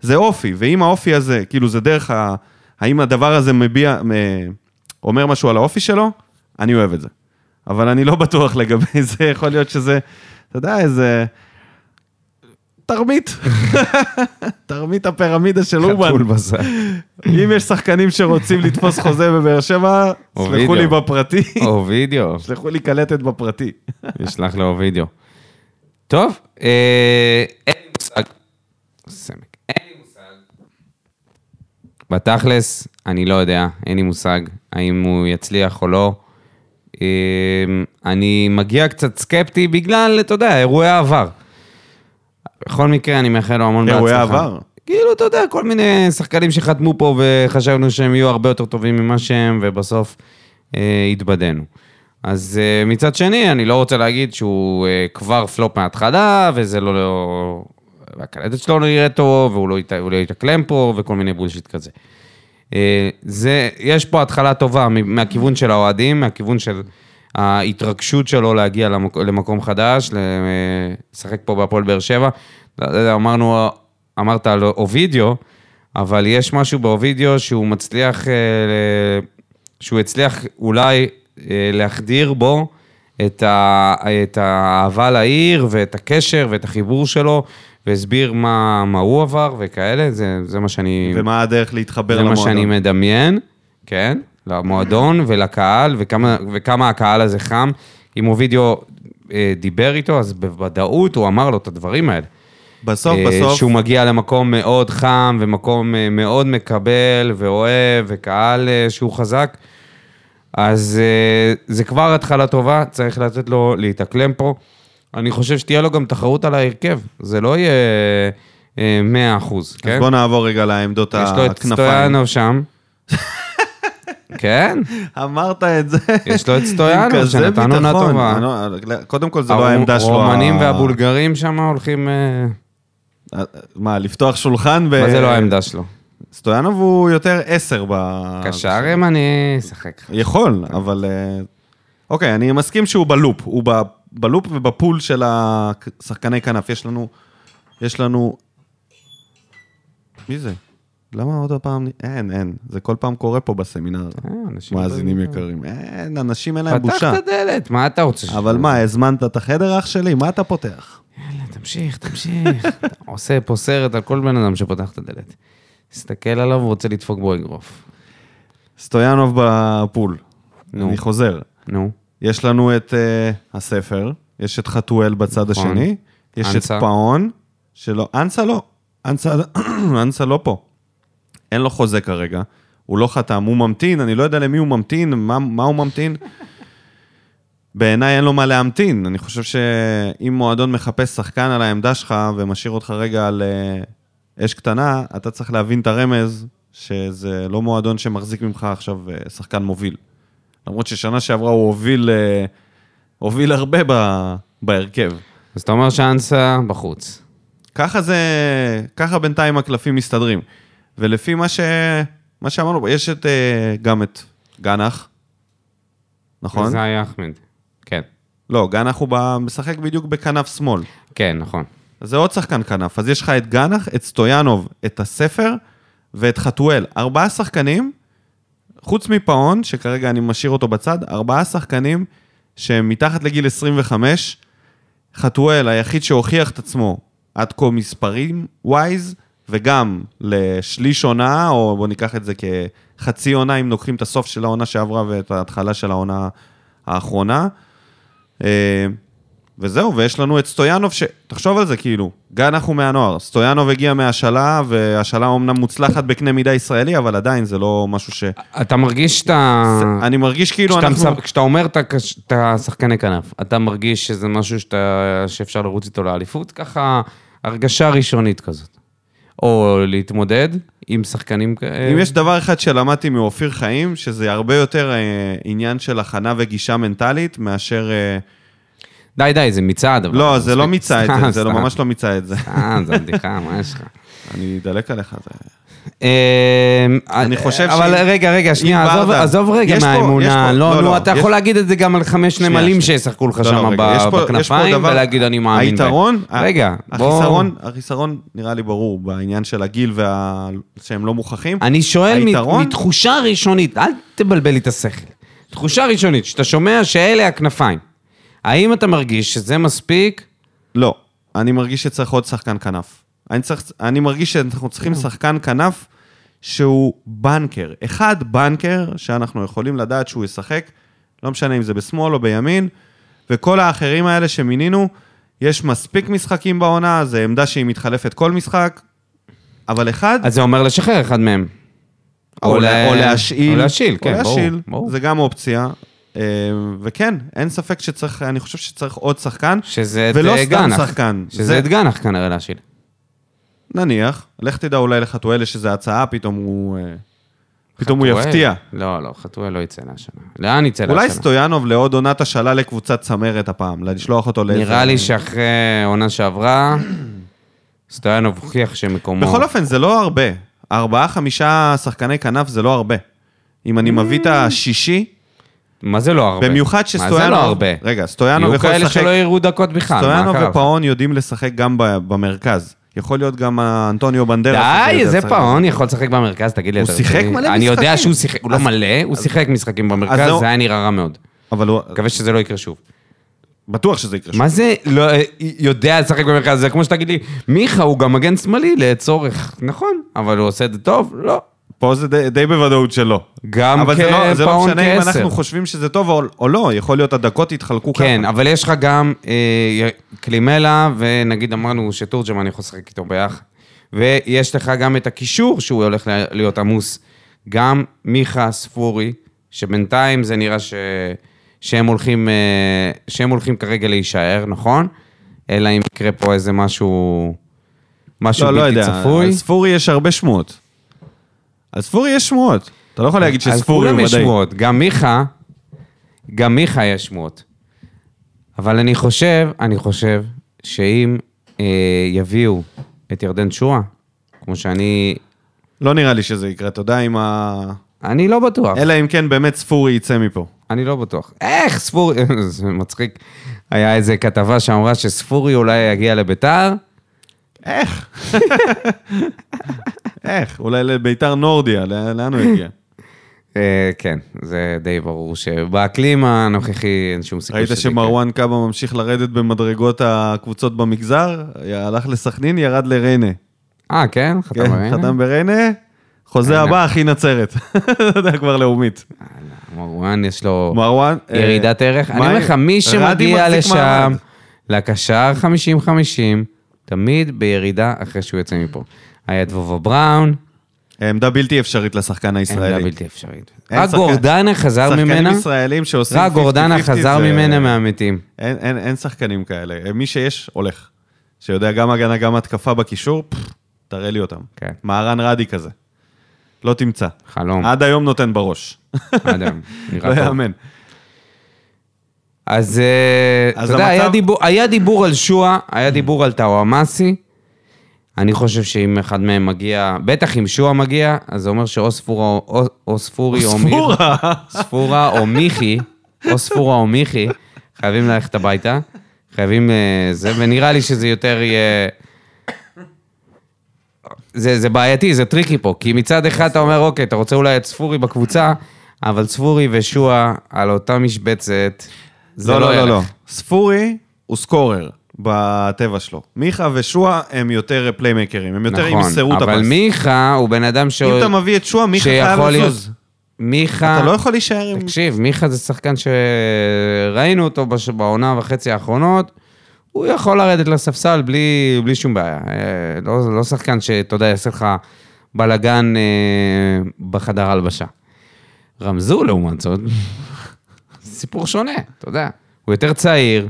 Speaker 1: זה אופי, ואם האופי הזה, כאילו זה דרך ה... האם הדבר הזה מביע, מ- אומר משהו על האופי שלו, אני אוהב את זה. אבל אני לא בטוח לגבי זה, יכול להיות שזה, אתה יודע, איזה... תרמית, תרמית הפירמידה של אובן.
Speaker 2: חתול בזק.
Speaker 1: אם יש שחקנים שרוצים לתפוס חוזה בבאר שבע,
Speaker 2: או
Speaker 1: סלחו לי
Speaker 2: וידאו.
Speaker 1: בפרטי,
Speaker 2: אובידיו.
Speaker 1: סלחו לי קלטת בפרטי.
Speaker 2: ישלח לו וידאו. טוב, אה, אין לי מושג. סמק. אין לי מושג. בתכלס, אני לא יודע, אין לי מושג האם הוא יצליח או לא. אה, אני מגיע קצת סקפטי בגלל, אתה יודע, אירועי העבר. בכל מקרה, אני מאחל לו המון בהצלחה.
Speaker 1: אירועי עבר?
Speaker 2: כאילו, אתה יודע, כל מיני שחקנים שחתמו פה וחשבנו שהם יהיו הרבה יותר טובים ממה שהם, ובסוף אה, התבדינו. אז אה, מצד שני, אני לא רוצה להגיד שהוא אה, כבר פלופ מההתחלה, וזה לא... לא... הקלטת שלו לא נראית טוב, והוא לא, ית, הוא לא יתאקלם פה, וכל מיני בולשיט כזה. אה, זה, יש פה התחלה טובה מ- מהכיוון של האוהדים, מהכיוון של ההתרגשות שלו להגיע למק, למקום חדש, ל- לשחק פה בהפועל באר שבע. לא יודע, לא אמרנו, אמרת על אובידיו, אבל יש משהו באובידיו שהוא מצליח, אה, ל- שהוא הצליח אולי אה, להחדיר בו את, ה, את האהבה לעיר ואת הקשר ואת החיבור שלו, והסביר מה, מה הוא עבר וכאלה, זה, זה מה שאני...
Speaker 1: ומה הדרך להתחבר
Speaker 2: זה מה
Speaker 1: למועדון.
Speaker 2: שאני מדמיין, כן, למועדון ולקהל, וכמה, וכמה הקהל הזה חם. אם אובידיו אה, דיבר איתו, אז בוודאות הוא אמר לו את הדברים האלה.
Speaker 1: בסוף,
Speaker 2: אה,
Speaker 1: בסוף,
Speaker 2: שהוא מגיע למקום מאוד חם, ומקום אה, מאוד מקבל ואוהב, וקהל אה, שהוא חזק. אז אה, זה כבר התחלה טובה, צריך לתת לו להתאקלם פה. אני חושב שתהיה לו גם תחרות על ההרכב, זה לא יהיה אה, 100 אחוז, כן?
Speaker 1: אז בוא נעבור רגע לעמדות
Speaker 2: יש לו את
Speaker 1: הכנפיים.
Speaker 2: סטויאנוב שם. כן,
Speaker 1: אמרת את זה.
Speaker 2: יש לו את
Speaker 1: עם
Speaker 2: סטויאנוב,
Speaker 1: כזה
Speaker 2: שנתן עונה
Speaker 1: ביטחון.
Speaker 2: טובה.
Speaker 1: אני לא- קודם כל, זו לא העמדה שלו.
Speaker 2: הרומנים
Speaker 1: ה-
Speaker 2: והבולגרים שם הולכים... אה,
Speaker 1: אה, מה, לפתוח שולחן? ב-
Speaker 2: מה זה לא העמדה שלו?
Speaker 1: אה, סטויאנוב הוא יותר עשר ב...
Speaker 2: קשר אה, ימני, שחק.
Speaker 1: יכול, אבל... אה, אוקיי, אני מסכים שהוא בלופ. הוא ב- בלופ ובפול של השחקני כנף. יש לנו... יש לנו... מי זה? למה עוד פעם? אין, אין. זה כל פעם קורה פה בסמינר.
Speaker 2: אה, אנשים
Speaker 1: מאזינים
Speaker 2: באים.
Speaker 1: יקרים. אין, אנשים אין להם
Speaker 2: פתח
Speaker 1: בושה.
Speaker 2: את הדלת, מה אתה רוצה?
Speaker 1: אבל מה, הזמנת את החדר, אח שלי? מה אתה פותח?
Speaker 2: יאללה, תמשיך, תמשיך. אתה עושה פה סרט על כל בן אדם שפותח את הדלת. תסתכל עליו, הוא רוצה לדפוק בו אגרוף.
Speaker 1: סטויאנוב בפול.
Speaker 2: נו.
Speaker 1: אני חוזר.
Speaker 2: נו,
Speaker 1: יש לנו את אה, הספר, יש את חתואל בצד
Speaker 2: נכון.
Speaker 1: השני, יש את
Speaker 2: אנסה.
Speaker 1: פאון, שלא... אנסה לא. אנסה אנסה לא פה. אין לו חוזה כרגע, הוא לא חתם, הוא ממתין, אני לא יודע למי הוא ממתין, מה, מה הוא ממתין. בעיניי אין לו מה להמתין, אני חושב שאם מועדון מחפש שחקן על העמדה שלך ומשאיר אותך רגע על אה, אש קטנה, אתה צריך להבין את הרמז שזה לא מועדון שמחזיק ממך עכשיו אה, שחקן מוביל. למרות ששנה שעברה הוא הוביל, אה, הוביל הרבה ב, בהרכב.
Speaker 2: אז אתה אומר שאנסה בחוץ.
Speaker 1: ככה זה, ככה בינתיים הקלפים מסתדרים. ולפי מה, ש, מה שאמרנו, פה, יש את, אה, גם את גנח, נכון?
Speaker 2: זה היה אחמד. כן,
Speaker 1: לא, גנח הוא ב- משחק בדיוק בכנף שמאל.
Speaker 2: כן, נכון.
Speaker 1: אז זה עוד שחקן כנף. אז יש לך את גנח, את סטויאנוב, את הספר ואת חתואל. ארבעה שחקנים, חוץ מפאון, שכרגע אני משאיר אותו בצד, ארבעה שחקנים שהם מתחת לגיל 25. חתואל, היחיד שהוכיח את עצמו עד כה מספרים ווייז, וגם לשליש עונה, או בואו ניקח את זה כחצי עונה, אם לוקחים את הסוף של העונה שעברה ואת ההתחלה של העונה האחרונה. אה, וזהו, ויש לנו את סטויאנוב, ש... תחשוב על זה, כאילו, גנח הוא מהנוער. סטויאנוב הגיע מהשאלה, והשאלה אומנם מוצלחת בקנה מידה ישראלי, אבל עדיין זה לא משהו ש...
Speaker 2: אתה מרגיש שאתה...
Speaker 1: אני מרגיש כאילו
Speaker 2: אה. כשאתה,
Speaker 1: אנחנו...
Speaker 2: מסב... כשאתה אומר את הקש- את השחקני כנף, אתה מרגיש שזה משהו שאתה... שאפשר לרוץ איתו לאליפות? ככה הרגשה ראשונית כזאת. או להתמודד עם שחקנים כאלה.
Speaker 1: אם יש דבר אחד שלמדתי מאופיר חיים, שזה הרבה יותר אה, עניין של הכנה וגישה מנטלית, מאשר... אה,
Speaker 2: די, די, זה מצעד. אבל
Speaker 1: לא, זה לא
Speaker 2: אה, מספיק.
Speaker 1: מיצה את
Speaker 2: סתם,
Speaker 1: זה, זה לא
Speaker 2: סתם.
Speaker 1: ממש לא מיצה את זה.
Speaker 2: סתם, זה בדיחה, מה יש לך?
Speaker 1: אני אדלק עליך. זה-
Speaker 2: אמ,
Speaker 1: אני חושב
Speaker 2: אבל
Speaker 1: שאם-
Speaker 2: רגע, רגע, שנייה,
Speaker 1: אם
Speaker 2: עזוב-
Speaker 1: ברדה-
Speaker 2: עזוב
Speaker 1: יש
Speaker 2: רגע
Speaker 1: פה- יש
Speaker 2: מהאמונה.
Speaker 1: פה- לא,
Speaker 2: לא,
Speaker 1: לא,
Speaker 2: נו, אתה
Speaker 1: יש-
Speaker 2: יכול להגיד את זה גם על חמש נמלים
Speaker 1: שנייה.
Speaker 2: שישחקו לך
Speaker 1: לא, לא,
Speaker 2: שם
Speaker 1: רגע,
Speaker 2: ב-
Speaker 1: יש פה- יש פה
Speaker 2: בכנפיים,
Speaker 1: דבר-
Speaker 2: ולהגיד, אני מאמין. בהם."
Speaker 1: היתרון, ה-
Speaker 2: רגע, בוא...
Speaker 1: החיסרון, החיסרון נראה לי ברור, בעניין של הגיל וה... שהם לא מוכחים.
Speaker 2: אני שואל מת-
Speaker 1: היתרון?
Speaker 2: מתחושה ראשונית, אל תבלבל לי את השכל. תחושה ראשונית, שאתה שומע שאלה הכנפיים. האם אתה מרגיש שזה מספיק?
Speaker 1: לא, אני מרגיש שצריך עוד שחקן כנף. אני, צריך, אני מרגיש שאנחנו צריכים שחקן כנף שהוא בנקר. אחד בנקר שאנחנו יכולים לדעת שהוא ישחק, לא משנה אם זה בשמאל או בימין, וכל האחרים האלה שמינינו, יש מספיק משחקים בעונה, זו עמדה שהיא מתחלפת כל משחק, אבל אחד,
Speaker 2: אז זה אומר לשחרר אחד מהם.
Speaker 1: או, לה,
Speaker 2: לה-
Speaker 1: או להשאיל,
Speaker 2: או להשאיל, כן,
Speaker 1: או
Speaker 2: ברור.
Speaker 1: להשאיל,
Speaker 2: ברור.
Speaker 1: זה גם אופציה. אה, וכן, אין ספק שצריך, אני חושב שצריך עוד שחקן,
Speaker 2: שזה את
Speaker 1: ולא
Speaker 2: אה,
Speaker 1: סתם
Speaker 2: גנח.
Speaker 1: שחקן. זה-
Speaker 2: שזה את גנח כנראה להשאיל.
Speaker 1: נניח, לך תדע אולי לחתואלה שזה הצעה, פתאום הוא... אה, פתאום הוא
Speaker 2: חתואל?
Speaker 1: יפתיע.
Speaker 2: לא, לא, חתואל לא יצא להשנה. לאן יצא להשנה?
Speaker 1: אולי סטויאנוב לעוד עונת השאלה לקבוצת צמרת הפעם, לשלוח אותו לאיזה...
Speaker 2: נראה לי שאחרי עונה שעברה, סטויאנוב הוכיח שמקומו...
Speaker 1: בכל אופן, זה לא הרבה. ארבעה, חמישה שחקני כנף זה לא הרבה. אם אני מביא את השישי,
Speaker 2: מה זה לא הרבה?
Speaker 1: במיוחד
Speaker 2: מה זה
Speaker 1: שסטויאנוב...
Speaker 2: לא הרבה?
Speaker 1: רגע, סטויאנוב
Speaker 2: יהיו
Speaker 1: יכול
Speaker 2: כאלה
Speaker 1: לשחק...
Speaker 2: שלא יראו דקות בכלל, מה
Speaker 1: סטויאנוב
Speaker 2: קרה?
Speaker 1: ופאון יודעים לשחק גם ב- במרכז. יכול להיות גם האנטוניו בנדרס.
Speaker 2: די,
Speaker 1: הזה,
Speaker 2: זה
Speaker 1: צריך-
Speaker 2: פאון יכול לשחק במרכז, תגיד לי.
Speaker 1: הוא
Speaker 2: אתה
Speaker 1: שיחק
Speaker 2: רציני?
Speaker 1: מלא
Speaker 2: אני יודע
Speaker 1: משחקים.
Speaker 2: שהוא שיחק, הוא לא
Speaker 1: אז-
Speaker 2: מלא, הוא שיחק משחקים במרכז,
Speaker 1: זהו.
Speaker 2: זה היה נראה רע מאוד.
Speaker 1: אבל הוא...
Speaker 2: מקווה שזה לא יקרה שוב.
Speaker 1: בטוח שזה יקרה.
Speaker 2: מה זה לא אה, יודע לשחק במרכז? זה כמו שתגיד לי, מיכה הוא גם מגן שמאלי לצורך, נכון, אבל הוא עושה את זה טוב? לא.
Speaker 1: פה זה די, די בוודאות שלא.
Speaker 2: גם
Speaker 1: אבל זה לא, זה לא
Speaker 2: כפאון
Speaker 1: משנה אם
Speaker 2: כעשר.
Speaker 1: אנחנו חושבים שזה טוב או, או לא, יכול להיות הדקות יתחלקו ככה.
Speaker 2: כן, אבל יש לך גם אה, קלימלה, ונגיד אמרנו שתורג'מן יכול לשחק איתו ביחד. ויש לך גם את הקישור שהוא הולך ל- להיות עמוס. גם מיכה ספורי, שבינתיים זה נראה ש... שהם הולכים, אה, שהם הולכים כרגע להישאר, נכון? אלא אם יקרה פה איזה משהו, משהו
Speaker 1: לא, לא
Speaker 2: בלתי
Speaker 1: יודע,
Speaker 2: צפוי.
Speaker 1: על ספורי יש הרבה שמועות. על ספורי יש שמועות. אתה לא יכול להגיד
Speaker 2: אז
Speaker 1: שספורי הוא
Speaker 2: כולם יש
Speaker 1: ודאי.
Speaker 2: שמועות, גם מיכה, גם מיכה יש שמועות. אבל אני חושב, אני חושב, שאם אה, יביאו את ירדן שואה, כמו שאני,
Speaker 1: לא נראה לי שזה יקרה, אתה יודע אם ה...
Speaker 2: אני לא בטוח,
Speaker 1: אלא אם כן באמת ספורי יצא מפה.
Speaker 2: אני לא בטוח. איך ספורי, זה מצחיק, היה איזה כתבה שאמרה שספורי אולי יגיע לביתר,
Speaker 1: איך? איך? אולי לביתר נורדיה, לא- לאן הוא הגיע?
Speaker 2: אה, כן, זה די ברור שבאקלים הנוכחי אין שום סיכוי
Speaker 1: ראית
Speaker 2: שזה כן. יקרה.
Speaker 1: שמרואן קאבה ממשיך לרדת במדרגות הקבוצות במגזר? הלך לסכנין, ירד לריינה.
Speaker 2: אה, כן?
Speaker 1: כן,
Speaker 2: חתם בריינה?
Speaker 1: חתם בריינה, חוזה
Speaker 2: ריינה.
Speaker 1: הבא, אחי נצרת. אתה יודע, כבר לאומית.
Speaker 2: מרואן יש לו...
Speaker 1: מרואן... אה,
Speaker 2: ירידת ערך. אני
Speaker 1: מה-
Speaker 2: אומר לך, מי
Speaker 1: רדי
Speaker 2: שמגיע
Speaker 1: מחזיק
Speaker 2: לשם,
Speaker 1: מעמד.
Speaker 2: לקשר 50-50, תמיד בירידה אחרי שהוא יוצא מפה. היה דבובה בראון,
Speaker 1: עמדה בלתי אפשרית לשחקן הישראלי.
Speaker 2: עמדה בלתי אפשרית.
Speaker 1: אין
Speaker 2: רק
Speaker 1: שחקן-
Speaker 2: גורדנה חזר ממנה,
Speaker 1: שחקנים ישראלים שעושים 50-50
Speaker 2: רק גורדנה חזר
Speaker 1: זה-
Speaker 2: ממנה מהמתים.
Speaker 1: אין- אין אין שחקנים כאלה. אה, מי שיש, הולך. שיודע גם הגנה, גם התקפה בקישור, פפ, תראה לי אותם.
Speaker 2: כן.
Speaker 1: מהרן רדי כזה. לא תמצא.
Speaker 2: חלום,
Speaker 1: עד היום נותן בראש.
Speaker 2: עד היום.
Speaker 1: לא
Speaker 2: נראה טוב.
Speaker 1: יאמן.
Speaker 2: אז אה, אתה
Speaker 1: אז
Speaker 2: יודע, היה
Speaker 1: המצב-
Speaker 2: דיבור- היה דיבור על שואה, היה דיבור על טאוואמאסי. אני חושב שאם אחד מהם מגיע, בטח אם שואה מגיע, אז זה אומר שאו ספורה או- או ספורי או מיר.
Speaker 1: ספורה. לא,
Speaker 2: ספורה או מיכי, או ספורה או מיכי, חייבים ללכת הביתה. חייבים אה, זה, ונראה לי שזה יותר יהיה... זה, זה בעייתי, זה טריקי פה, כי מצד אחד אתה אומר, אוקיי, אתה רוצה אולי את ספורי בקבוצה, אבל ספורי ושועה על אותה משבצת, זה
Speaker 1: לא, לא, לא,
Speaker 2: ילך.
Speaker 1: לא. ספורי הוא סקורר בטבע שלו. מיכה ושועה הם יותר פליימקרים, הם יותר
Speaker 2: נכון,
Speaker 1: ימסרו את הפס.
Speaker 2: אבל מיכה הוא בן אדם ש...
Speaker 1: אם אתה מביא את שועה, מיכה
Speaker 2: שיכול
Speaker 1: חייב
Speaker 2: להיות-
Speaker 1: לזוז.
Speaker 2: מיכה...
Speaker 1: אתה לא יכול להישאר עם...
Speaker 2: תקשיב, מיכה זה שחקן שראינו אותו בש... בעונה וחצי האחרונות, הוא יכול לרדת לספסל בלי, בלי שום בעיה. אה, לא, לא שחקן שאתה יודע, יעשה לך בלאגן אה, בחדר הלבשה. רמזו לעומת זאת, סיפור שונה, אתה יודע. הוא יותר צעיר,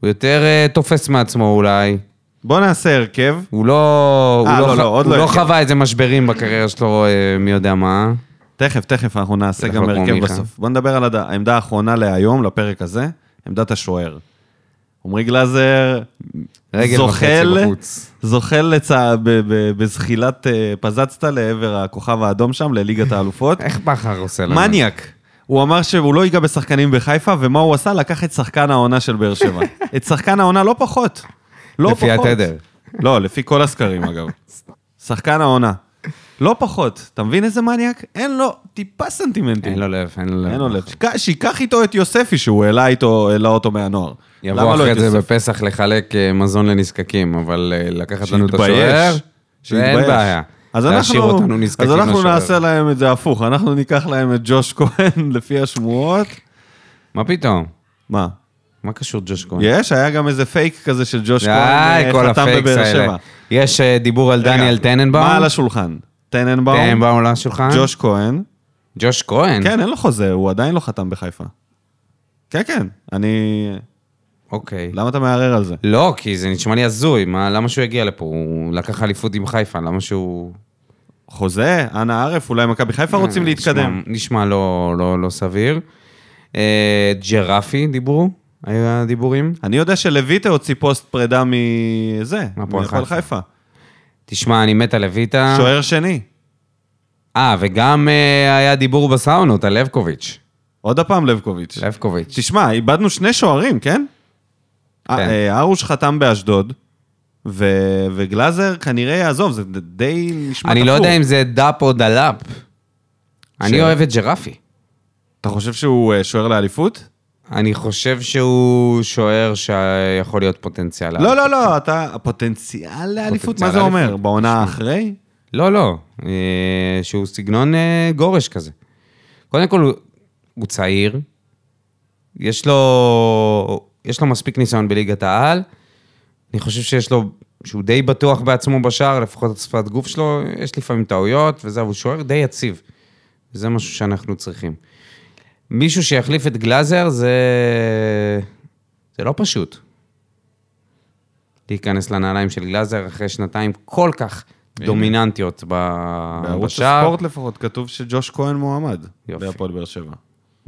Speaker 2: הוא יותר אה, תופס מעצמו אולי.
Speaker 1: בוא נעשה הרכב.
Speaker 2: הוא לא,
Speaker 1: אה,
Speaker 2: הוא
Speaker 1: לא, לא, עוד
Speaker 2: הוא
Speaker 1: לא
Speaker 2: לא
Speaker 1: הרכב.
Speaker 2: חווה איזה משברים בקריירה שלו, אה, מי יודע מה.
Speaker 1: תכף, תכף, אנחנו נעשה
Speaker 2: בטח
Speaker 1: גם
Speaker 2: לא כמו
Speaker 1: הרכב
Speaker 2: מיכה.
Speaker 1: בסוף. בוא נדבר על הד- העמדה האחרונה להיום, לפרק הזה, עמדת השוער. עמרי גלאזר
Speaker 2: רגל
Speaker 1: זוחל,
Speaker 2: וחצי בחוץ.
Speaker 1: זוחל לצע... ב- ב- בזחילת אה, פזצת לעבר הכוכב האדום שם, לליגת האלופות.
Speaker 2: איך בכר עושה לנו?
Speaker 1: מניאק. הוא אמר שהוא לא ייגע בשחקנים בחיפה, ומה הוא עשה? לקח את שחקן העונה של באר שבע. את שחקן העונה לא פחות. לא
Speaker 2: לפי
Speaker 1: פחות.
Speaker 2: התדר.
Speaker 1: לא, לפי כל הסקרים, אגב. שחקן העונה. לא פחות. אתה מבין איזה מניאק? אין לו טיפה סנטימנטים.
Speaker 2: אין לו לא. לב, אין לו לב.
Speaker 1: אין לו לב. שיקח- שיקח איתו את יוספי, שהוא העלה איתו, העלה אותו מהנוער.
Speaker 2: יבוא
Speaker 1: למה לא
Speaker 2: אחרי
Speaker 1: את
Speaker 2: זה
Speaker 1: יוספי?
Speaker 2: בפסח לחלק אה, מזון לנזקקים, אבל אה, לקחת לנו את השוער,
Speaker 1: שיתבייש.
Speaker 2: זה אין בעיה.
Speaker 1: אז
Speaker 2: להשאיר
Speaker 1: אנחנו-
Speaker 2: אותנו נזקקים
Speaker 1: אז אנחנו
Speaker 2: לשוער.
Speaker 1: נעשה להם את זה הפוך, אנחנו ניקח להם את ג'וש כהן לפי השמועות.
Speaker 2: מה פתאום?
Speaker 1: מה?
Speaker 2: מה קשור ג'וש כהן?
Speaker 1: יש, היה גם איזה פייק כזה של ג'וש כהן,
Speaker 2: די,
Speaker 1: אה,
Speaker 2: כל
Speaker 1: חתם
Speaker 2: הפייקס
Speaker 1: בבאר
Speaker 2: האלה.
Speaker 1: שבע.
Speaker 2: יש אה, דיבור על
Speaker 1: רגע,
Speaker 2: דניאל טננבאום?
Speaker 1: מה על השולחן? טננבאום,
Speaker 2: טננבאום על השולחן?
Speaker 1: ג'וש כהן.
Speaker 2: ג'וש כהן?
Speaker 1: כן, אין לו חוזה, הוא עדיין לא חתם בחיפה. כן, כן, אני...
Speaker 2: אוקיי.
Speaker 1: למה אתה מערער על זה?
Speaker 2: לא, כי זה נשמע לי הזוי, מה- למה שהוא יגיע לפה? הוא לקח אליפות עם חיפה, למה שהוא...
Speaker 1: חוזה, אנה ערף, אולי מכבי חיפה
Speaker 2: אה,
Speaker 1: רוצים להתקדם.
Speaker 2: נשמע- נשמע לא- לא לא סביר. אה, ג'רפי דיברו, היה דיבורים.
Speaker 1: אני יודע שלויטה הוציא פוסט פרידה מזה,
Speaker 2: מהפועל
Speaker 1: מהפועל
Speaker 2: חיפה.
Speaker 1: חיפה.
Speaker 2: תשמע, אני מת על לויטה.
Speaker 1: שוער שני.
Speaker 2: אה, וגם אה, היה דיבור בסאונות על לבקוביץ'.
Speaker 1: עוד הפעם לבקוביץ'.
Speaker 2: לבקוביץ'. כן.
Speaker 1: תשמע, איבדנו שני שוערים, כן? אה, אה, ארוש חתם באשדוד, ו- וגלאזר כנראה יעזוב, זה ד- די נשמע
Speaker 2: אני לא
Speaker 1: תפור.
Speaker 2: יודע אם זה דאפ או דלאפ. אני אוהב את ג'רפי.
Speaker 1: אתה חושב שהוא אה, שוער לאליפות?
Speaker 2: אני חושב שהוא שוער שיכול להיות פוטנציאל.
Speaker 1: לא, לא, לא, אתה הפוטנציאל לאליפות, מה זה
Speaker 2: אה, אוקיי. פוטנציאל
Speaker 1: אומר?
Speaker 2: לאליפות.
Speaker 1: בעונה אחרי?
Speaker 2: לא, לא. אה, שהוא סגנון אה, גורש כזה. קודם כל, הוא- הוא צעיר, יש לו, יש לו מספיק ניסיון בליגת העל, אני חושב שיש לו, שהוא די בטוח בעצמו בשער, לפחות את שפת גוף שלו, יש לפעמים טעויות וזה, אבל הוא שוער די יציב. זה משהו שאנחנו צריכים. מישהו שיחליף את גלאזר זה... זה לא פשוט. להיכנס לנעליים של גלאזר אחרי שנתיים כל כך דומיננטיות ב...
Speaker 1: בערוץ
Speaker 2: בשער.
Speaker 1: הספורט לפחות כתוב שג'וש כהן מועמד.
Speaker 2: יופי.
Speaker 1: בהפועל באר שבע.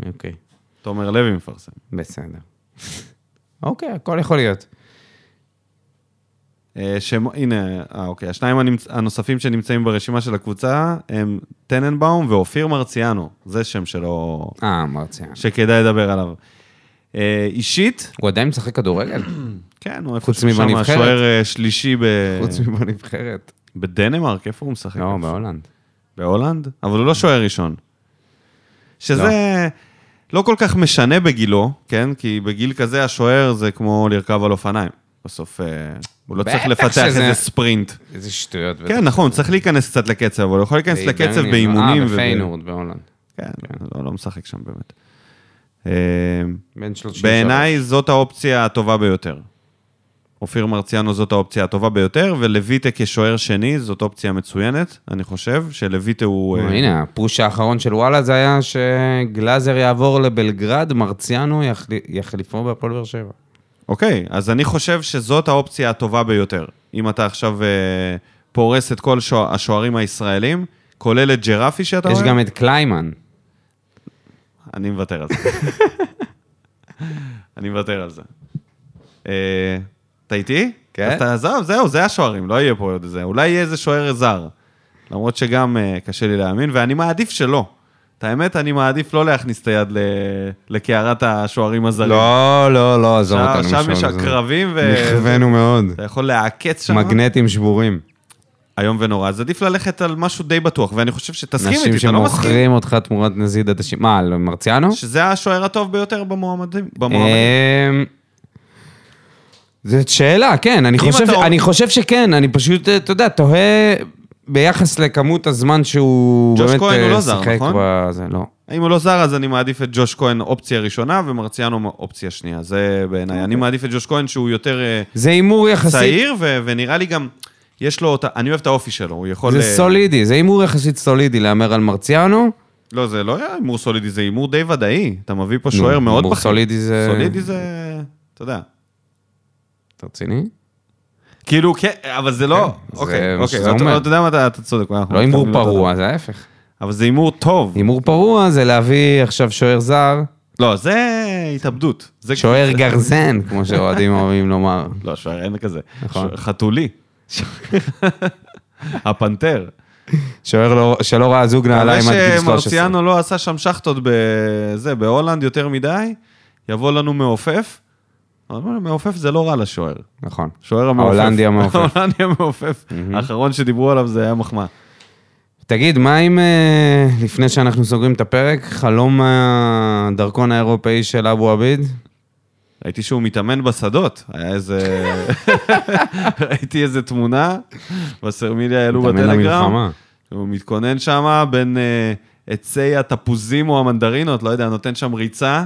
Speaker 2: אוקיי.
Speaker 1: תומר לוי מפרסם.
Speaker 2: בסדר. אוקיי, הכל יכול להיות.
Speaker 1: אה, שם, הנה, אה, אוקיי, השניים הנמצ... הנוספים שנמצאים ברשימה של הקבוצה הם טננבאום ואופיר מרציאנו, זה שם שלו,
Speaker 2: אה, מרצה.
Speaker 1: שכדאי לדבר עליו. אה, אישית,
Speaker 2: הוא עדיין משחק כדורגל?
Speaker 1: כן, הוא
Speaker 2: חוץ
Speaker 1: איפשהו שם
Speaker 2: מבנבחרת.
Speaker 1: השוער אה, שלישי ב...
Speaker 2: חוץ מבנבחרת.
Speaker 1: בדנמרק, איפה הוא משחק?
Speaker 2: אה. לא,
Speaker 1: איפה?
Speaker 2: בהולנד.
Speaker 1: בהולנד? אבל הוא לא שוער ראשון. שזה לא כל כך משנה בגילו, כן? כי בגיל כזה השוער זה כמו לרכב על אופניים. בסוף אה, הוא לא צריך
Speaker 2: בטח
Speaker 1: לפתח
Speaker 2: שזה-
Speaker 1: איזה ספרינט.
Speaker 2: איזה שטויות.
Speaker 1: כן, נכון, הוא צריך להיכנס קצת לקצב, אבל הוא יכול להיכנס לקצב באימונים.
Speaker 2: אה,
Speaker 1: וב-
Speaker 2: בפיינורד, בהולנד.
Speaker 1: כן, לא, לא משחק שם באמת. אה,
Speaker 2: בן 33.
Speaker 1: בעיניי זאת האופציה הטובה ביותר. אופיר מרציאנו זאת האופציה הטובה ביותר, ולויטה כשוער שני זאת אופציה מצוינת, אני חושב, שלויטה הוא...
Speaker 2: אה,
Speaker 1: אה,
Speaker 2: הנה, הפוש האחרון של וואלה זה היה שגלאזר יעבור לבלגרד, מרציאנו יחל- יחליפו בהפועל באר שבע.
Speaker 1: אוקיי, אז אני חושב שזאת האופציה הטובה ביותר. אם אתה עכשיו אה, פורס את כל שוע- השוערים הישראלים, כולל את ג'רפי שאתה
Speaker 2: יש
Speaker 1: רואה,
Speaker 2: גם את קליימן.
Speaker 1: אני מוותר על זה. אני מוותר על זה. אה, אתה איתי?
Speaker 2: כן.
Speaker 1: אז תעזוב, זהו, זה השוערים, לא יהיה פה עוד איזה. אולי יהיה איזה שוער זר. למרות שגם אה, קשה לי להאמין, ואני מעדיף שלא. את האמת, אני מעדיף לא להכניס את היד ל- לקערת השוערים הזרים.
Speaker 2: לא, לא, לא, עזוב אותנו.
Speaker 1: שם שם יש
Speaker 2: משוער, עזוב.
Speaker 1: הקרבים, ו...
Speaker 2: נכווינו מאוד.
Speaker 1: אתה יכול לעקץ שם.
Speaker 2: מגנטים שבורים.
Speaker 1: איום ונורא, אז עדיף ללכת על משהו די בטוח, ואני חושב שתסכים
Speaker 2: אנשים
Speaker 1: איתי, אתה לא מסכים?
Speaker 2: שמוכרים אותך תמורת נזיד עדשים. מה, על מרציאנו?
Speaker 1: שזה השוער הטוב ביותר במועמדים. במועמדים.
Speaker 2: אמ, זאת שאלה, כן, אני חושב,
Speaker 1: אתה-
Speaker 2: אני חושב שכן, אני פשוט, אה, אתה יודע, תוהה ביחס לכמות הזמן שהוא
Speaker 1: ג'וש
Speaker 2: באמת
Speaker 1: כהן הוא
Speaker 2: אה,
Speaker 1: לא זר,
Speaker 2: שיחק
Speaker 1: נכון?
Speaker 2: בזה, לא.
Speaker 1: אם הוא לא זר, אז אני מעדיף את ג'וש כהן אופציה ראשונה, ומרציאנו אופציה שנייה, זה בעיניי.
Speaker 2: אוקיי.
Speaker 1: אני מעדיף את ג'וש כהן שהוא יותר אה,
Speaker 2: זה הימור יחסית,
Speaker 1: צעיר, ו- ונראה לי גם, יש לו אותה, אני אוהב את האופי שלו, הוא יכול...
Speaker 2: זה
Speaker 1: אה,
Speaker 2: סולידי, זה הימור יחסית סולידי להמר על מרציאנו.
Speaker 1: לא, זה לא היה הימור סולידי, זה הימור די ודאי. אתה מביא פה שוער מאוד
Speaker 2: הימור
Speaker 1: בכיר.
Speaker 2: סולידי זה-
Speaker 1: סולידי זה... אתה יודע.
Speaker 2: אתה רציני?
Speaker 1: אה, כאילו, כן, אבל זה לא...
Speaker 2: כן, זה
Speaker 1: אוקיי,
Speaker 2: מה
Speaker 1: אוקיי,
Speaker 2: שזה
Speaker 1: אתה
Speaker 2: אומר.
Speaker 1: אתה יודע מה, אתה אתה צודק. אנחנו
Speaker 2: לא הימור
Speaker 1: מתכוונים אותו
Speaker 2: פרוע, זה ההפך.
Speaker 1: דבר. אבל זה הימור טוב.
Speaker 2: הימור פרוע זה להביא עכשיו שוער זר,
Speaker 1: לא, זה התאבדות. זה
Speaker 2: שוער
Speaker 1: כבר-
Speaker 2: גרזן, כמו שאוהדים אוהבים לומר.
Speaker 1: לא, שוער אין כזה.
Speaker 2: נכון.
Speaker 1: שוער חתולי. הפנתר.
Speaker 2: שוער לא- שלא ראה זוג נעליים עד גיל
Speaker 1: אחרי
Speaker 2: 13.
Speaker 1: שמרציאנו לא עשה שם שחטות בזה, בהולנד יותר מדי, יבוא לנו מעופף. אבל מעופף זה לא רע לשוער.
Speaker 2: נכון.
Speaker 1: שוער המעופף.
Speaker 2: ההולנדי המעופף.
Speaker 1: ההולנדי המעופף. האחרון שדיברו עליו זה היה מחמאה.
Speaker 2: תגיד, מה אם, אה, לפני שאנחנו סוגרים את הפרק, חלום הדרכון האירופאי של אבו עביד?
Speaker 1: ראיתי שהוא מתאמן בשדות, היה איזה... ראיתי איזה תמונה, בסרמיליה העלו
Speaker 2: מתאמן
Speaker 1: בטלגרם.
Speaker 2: למלחמה.
Speaker 1: הוא מתכונן שם בין אה, עצי התפוזים או המנדרינות, לא יודע, נותן שם ריצה.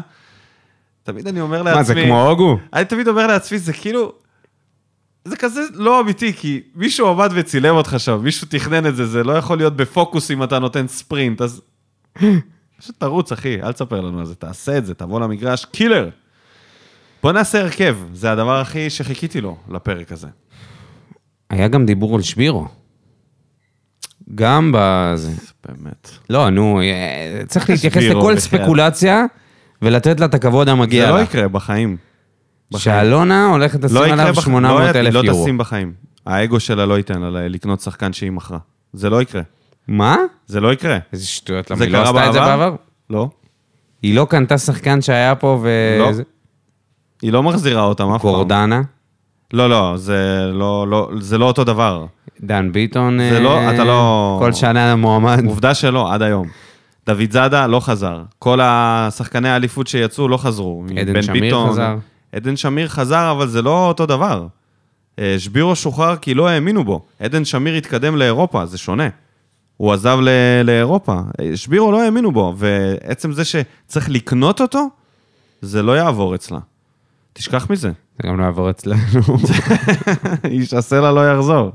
Speaker 1: תמיד אני אומר לעצמי...
Speaker 2: מה, זה כמו הוגו?
Speaker 1: אני תמיד אומר לעצמי, זה כאילו... זה כזה לא אמיתי, כי מישהו עמד וצילם אותך שם, מישהו תכנן את זה, זה לא יכול להיות בפוקוס אם אתה נותן ספרינט, אז... פשוט תרוץ, אחי, אל תספר לנו על זה, תעשה את זה, תבוא למגרש, קילר. בוא נעשה הרכב, זה הדבר הכי שחיכיתי לו, לפרק הזה.
Speaker 2: היה גם דיבור על שבירו. גם בזה.
Speaker 1: באמת.
Speaker 2: לא, נו, אה, צריך להתייחס
Speaker 1: שבירו,
Speaker 2: לכל
Speaker 1: בחייאת.
Speaker 2: ספקולציה ולתת לה את הכבוד המגיע
Speaker 1: זה לא
Speaker 2: לה.
Speaker 1: יקרה בחיים.
Speaker 2: שאלונה הולכת לשים
Speaker 1: לא יקרה
Speaker 2: עליו
Speaker 1: בח-
Speaker 2: 800 אלף
Speaker 1: לא י- לא
Speaker 2: יורו.
Speaker 1: תשים בחיים. האגו שלה לא ייתן לה לקנות שחקן שהיא מכרה. זה לא יקרה.
Speaker 2: מה?
Speaker 1: זה לא יקרה.
Speaker 2: איזה שטויות, למה
Speaker 1: זה
Speaker 2: היא לא
Speaker 1: קרה
Speaker 2: עשתה את זה
Speaker 1: בעבר?
Speaker 2: בעבר?
Speaker 1: לא.
Speaker 2: היא לא קנתה שחקן שהיה פה ו...
Speaker 1: לא.
Speaker 2: אה, זה-
Speaker 1: היא לא מחזירה אותם אף פעם.
Speaker 2: גורדנה.
Speaker 1: לא, לא, זה לא, לא, זה לא אותו דבר.
Speaker 2: דן ביטון...
Speaker 1: זה לא-
Speaker 2: אה,
Speaker 1: אתה לא-
Speaker 2: כל שנה מועמד.
Speaker 1: עובדה שלא, עד היום. דוד זאדה לא חזר. כל השחקני האליפות שיצאו לא חזרו.
Speaker 2: עדן
Speaker 1: בן
Speaker 2: שמיר חזר.
Speaker 1: עדן שמיר חזר, אבל זה לא אותו דבר. אה, שבירו שוחרר כי לא האמינו בו. עדן שמיר התקדם לאירופה, זה שונה. הוא עזב ל- לאירופה. אה, שבירו לא האמינו בו, ועצם זה שצריך לקנות אותו, זה לא יעבור אצלה. תשכח מזה.
Speaker 2: זה גם לא יעבור אצלנו.
Speaker 1: איש הסלע לא יחזור.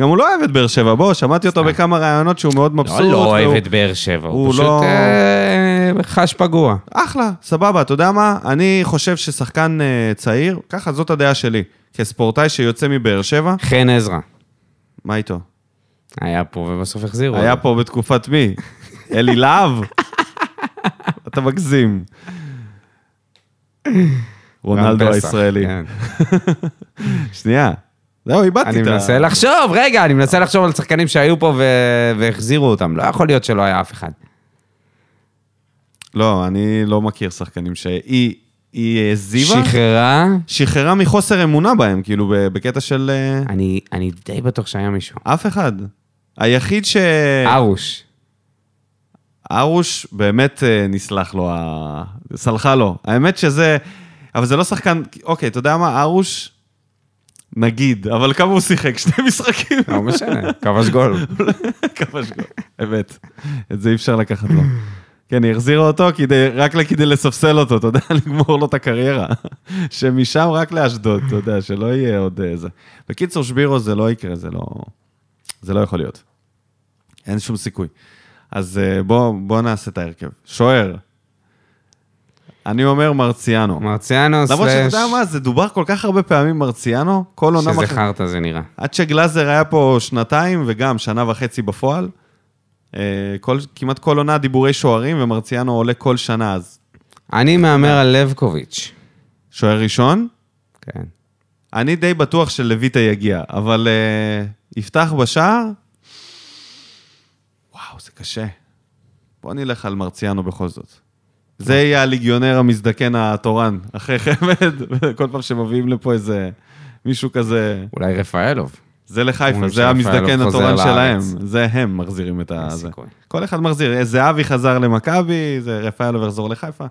Speaker 1: גם הוא לא אוהב את באר שבע, בוא, שמעתי אותו בכמה ראיונות שהוא מאוד מבסוט.
Speaker 2: לא, לא אוהב
Speaker 1: והוא-
Speaker 2: את באר שבע, הוא
Speaker 1: הוא
Speaker 2: פשוט
Speaker 1: לא-
Speaker 2: אה, חש פגוע.
Speaker 1: אחלה, סבבה, אתה יודע מה? אני חושב ששחקן אה, צעיר, ככה, זאת הדעה שלי. כספורטאי שיוצא מבאר שבע,
Speaker 2: חן עזרא
Speaker 1: מה איתו?
Speaker 2: היה פה ובסוף החזירו.
Speaker 1: היה פה בתקופת מי? אלי להב? אתה מגזים.
Speaker 2: גם
Speaker 1: רונלדו
Speaker 2: פסח,
Speaker 1: הישראלי.
Speaker 2: כן.
Speaker 1: שנייה. זהו, איבדתי את ה...
Speaker 2: אני מנסה לחשוב, רגע, אני מנסה לחשוב על שחקנים שהיו פה ו- והחזירו אותם. לא יכול להיות שלא היה אף אחד.
Speaker 1: לא, אני לא מכיר שחקנים שהיא... היא העזיבה?
Speaker 2: שחררה,
Speaker 1: שחררה מחוסר אמונה בהם, כאילו, ב- בקטע של אה,
Speaker 2: אני אני די בטוח שהיה מישהו.
Speaker 1: אף אחד. היחיד ש...
Speaker 2: ארוש.
Speaker 1: ארוש, באמת אה, נסלח לו, ה- סלחה לו. האמת שזה... אבל זה לא שחקן... אוקיי, אתה יודע מה? ארוש, נגיד, אבל כמה הוא שיחק? שני משחקים?
Speaker 2: לא משנה, כבש גול.
Speaker 1: כמה שגול. אמת. את זה אי אפשר לקחת לו. כן, היא החזירה אותו כדי, רק כדי לספסל אותו, אתה יודע, לגמור לו את הקריירה. שמשם רק לאשדוד, אתה יודע, שלא יהיה עוד איזה. בקיצור, שבירו זה לא יקרה, זה לא... זה לא יכול להיות. אין שום סיכוי. אז אה, בוא, בוא נעשה את ההרכב. שוער. אני אומר מרציאנו.
Speaker 2: מרציאנו
Speaker 1: למרות שאתה
Speaker 2: סלאש...
Speaker 1: יודע מה, זה דובר כל כך הרבה פעמים מרציאנו, כל עונה
Speaker 2: שזה
Speaker 1: מחליפה.
Speaker 2: חרטא זה נראה.
Speaker 1: עד שגלאזר היה פה שנתיים וגם שנה וחצי בפועל, אה, כל, כמעט כל עונה דיבורי שוערים ומרציאנו עולה כל שנה אז.
Speaker 2: אני מהמר על לבקוביץ'.
Speaker 1: שוער ראשון,
Speaker 2: כן.
Speaker 1: אני די בטוח שלויטה יגיע, אבל אה, יפתח בשער, וואו, זה קשה. בוא נלך על מרציאנו בכל זאת. זה יהיה הליגיונר המזדקן התורן, אחרי חמד, כל פעם שמביאים לפה איזה מישהו כזה...
Speaker 2: אולי רפאלוב.
Speaker 1: זה לחיפה,
Speaker 2: אומרים
Speaker 1: זה המזדקן
Speaker 2: שרפאלוב
Speaker 1: התורן
Speaker 2: חוזר
Speaker 1: שלהם.
Speaker 2: לארץ.
Speaker 1: זה הם מחזירים את ה... זה.
Speaker 2: סיכוי.
Speaker 1: כל אחד מחזיר. אה, זהבי חזר למכבי, זה רפאלוב יחזור לחיפה.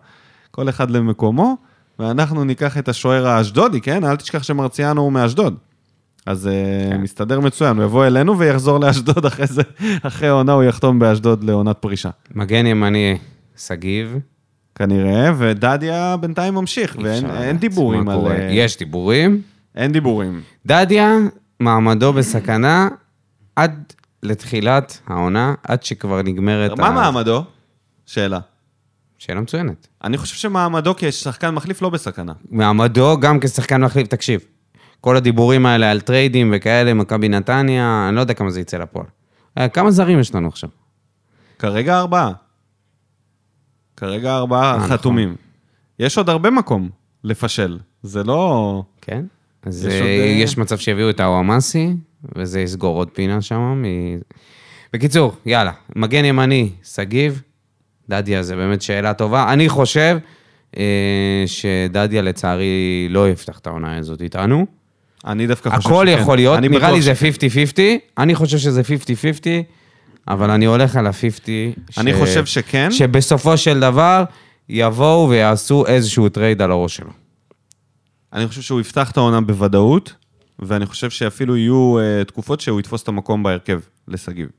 Speaker 1: כל אחד למקומו, ואנחנו ניקח את השוער האשדודי, כן? אל תשכח שמרציאנו הוא מאשדוד. אז אה,
Speaker 2: כן.
Speaker 1: מסתדר מצוין, הוא יבוא אלינו ויחזור לאשדוד אחרי זה, אחרי העונה הוא יחתום באשדוד לעונת פרישה.
Speaker 2: מגן ימני, שגיב.
Speaker 1: כנראה, ודדיה בינתיים ממשיך, ואין
Speaker 2: אפשר
Speaker 1: אין
Speaker 2: לדעת
Speaker 1: דיבורים
Speaker 2: מה
Speaker 1: על...
Speaker 2: קורה.
Speaker 1: אה,
Speaker 2: יש דיבורים.
Speaker 1: אין דיבורים.
Speaker 2: דדיה, מעמדו בסכנה עד לתחילת העונה, עד שכבר נגמרת...
Speaker 1: מה
Speaker 2: ה-
Speaker 1: מעמדו? שאלה.
Speaker 2: שאלה מצוינת.
Speaker 1: אני חושב שמעמדו כשחקן מחליף לא בסכנה.
Speaker 2: מעמדו גם כשחקן מחליף, תקשיב. כל הדיבורים האלה על טריידים וכאלה, מכבי נתניה, אני לא יודע כמה זה יצא לפועל. אה, כמה זרים יש לנו עכשיו?
Speaker 1: כרגע ארבעה. כרגע
Speaker 2: אה,
Speaker 1: ארבעה
Speaker 2: נכון.
Speaker 1: חתומים. יש עוד הרבה מקום לפשל. זה לא...
Speaker 2: כן? אז
Speaker 1: יש
Speaker 2: יש,
Speaker 1: עוד, אה,
Speaker 2: יש מצב שיביאו את האוואמאסי, וזה יסגור עוד פינה שם. מ... בקיצור, יאללה, מגן ימני, שגיב, דדיה, זה באמת שאלה טובה. אני חושב אה, שדדיה לצערי לא יפתח את העונה הזאת איתנו.
Speaker 1: אני דווקא חושב
Speaker 2: הכל
Speaker 1: שכן.
Speaker 2: יכול להיות,
Speaker 1: אני
Speaker 2: נראה
Speaker 1: בטוח
Speaker 2: לי זה
Speaker 1: שכן.
Speaker 2: 50-50, אני חושב שזה 50-50, אבל אני הולך על ה-50. ש-
Speaker 1: אני חושב שכן.
Speaker 2: שבסופו של דבר יבואו ויעשו איזשהו טרייד על הראש שלו.
Speaker 1: אני חושב שהוא יפתח את העונה בוודאות, ואני חושב שאפילו יהיו אה, תקופות שהוא יתפוס את המקום בהרכב לשגיב.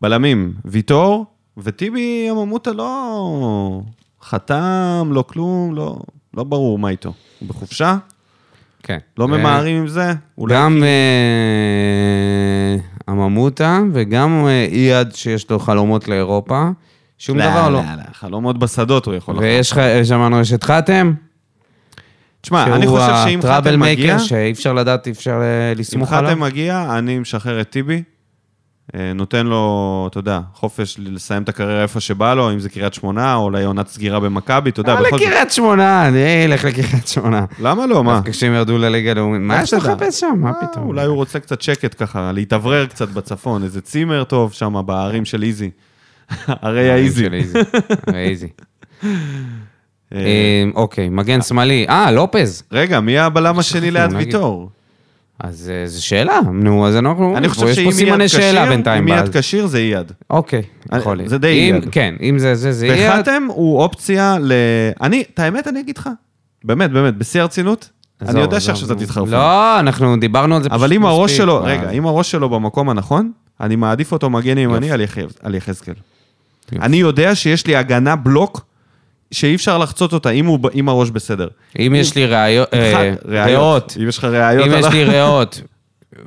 Speaker 1: בלמים, ויטור, וטיבי הממותה לא חתם, לא כלום, לא, לא ברור מה איתו. הוא בחופשה,
Speaker 2: כן.
Speaker 1: לא
Speaker 2: זה-
Speaker 1: ממהרים עם זה, אולי
Speaker 2: גם אה, הממותה וגם אה, אייד שיש לו חלומות לאירופה, שום דבר לא.
Speaker 1: חלומות בשדות הוא יכול לחלום.
Speaker 2: ויש לך, שמענו, יש את חתם,
Speaker 1: תשמע, אה, אני חושב שאם
Speaker 2: הטראבל
Speaker 1: חתם מגיע,
Speaker 2: מייקר, שאי אפשר לדעת, אי אפשר אה,
Speaker 1: אם
Speaker 2: לסמוך עליו.
Speaker 1: חתם מגיע, אני משחרר את טיבי, אה, נותן לו, אתה יודע, חופש לסיים את הקריירה איפה שבא לו, אם זה קריית שמונה, או אולי עונת סגירה במכבי, אתה יודע,
Speaker 2: אה,
Speaker 1: בכל זאת.
Speaker 2: לקריית שמונה, אני אלך לקריית שמונה.
Speaker 1: למה לא, מה?
Speaker 2: דווקא כשהם ירדו לליגה הלאומית, מה
Speaker 1: איך
Speaker 2: יש לך
Speaker 1: תדע?
Speaker 2: לחפש שם? מה
Speaker 1: אה,
Speaker 2: פתאום?
Speaker 1: אולי הוא רוצה קצת שקט ככה, להתאוורר קצת בצפון, איזה צימר טוב שם בערים של איזי. הרי האיזי.
Speaker 2: של איזי. הרי איזי.
Speaker 1: אה,
Speaker 2: אה, אוקיי, מגן שמאלי. אה, לופז.
Speaker 1: רגע, מי הבלם השני
Speaker 2: שכחנו,
Speaker 1: ליד
Speaker 2: נגיד.
Speaker 1: ויטור?
Speaker 2: אז אה, זו שאלה, נו, אז אנחנו... אומרים
Speaker 1: אני
Speaker 2: פה,
Speaker 1: חושב
Speaker 2: יש פה
Speaker 1: שאם
Speaker 2: סימני
Speaker 1: יד
Speaker 2: שאלה
Speaker 1: כשיר,
Speaker 2: בינתיים.
Speaker 1: אם יד
Speaker 2: ואז-
Speaker 1: כשיר זה יד.
Speaker 2: אוקיי,
Speaker 1: אה,
Speaker 2: יכול להיות.
Speaker 1: זה די
Speaker 2: אם-
Speaker 1: יד.
Speaker 2: כן, אם זה זה, זה יהיה...
Speaker 1: וחתם הוא אופציה ל... אני, את האמת, אני אגיד לך, באמת, באמת, בשיא הרצינות, אני
Speaker 2: עזוב,
Speaker 1: יודע
Speaker 2: עזוב.
Speaker 1: שעכשיו אתה תתחרפן.
Speaker 2: לא, אנחנו דיברנו על זה
Speaker 1: אבל אם הראש
Speaker 2: מספיק. אה,
Speaker 1: שלו,
Speaker 2: מה?
Speaker 1: רגע, אם הראש שלו במקום הנכון, אני מעדיף אותו מגן ימני על יחז- על יחזקאל.
Speaker 2: יופי.
Speaker 1: אני יודע שיש לי הגנה בלוק שאי אפשר לחצות אותה אם הוא ב- אם הראש בסדר.
Speaker 2: אם יש לי ראיות... אה,
Speaker 1: אחד,
Speaker 2: ראיות.
Speaker 1: אם יש לך ראיות.
Speaker 2: אם
Speaker 1: על
Speaker 2: יש
Speaker 1: ה-
Speaker 2: לי ריאות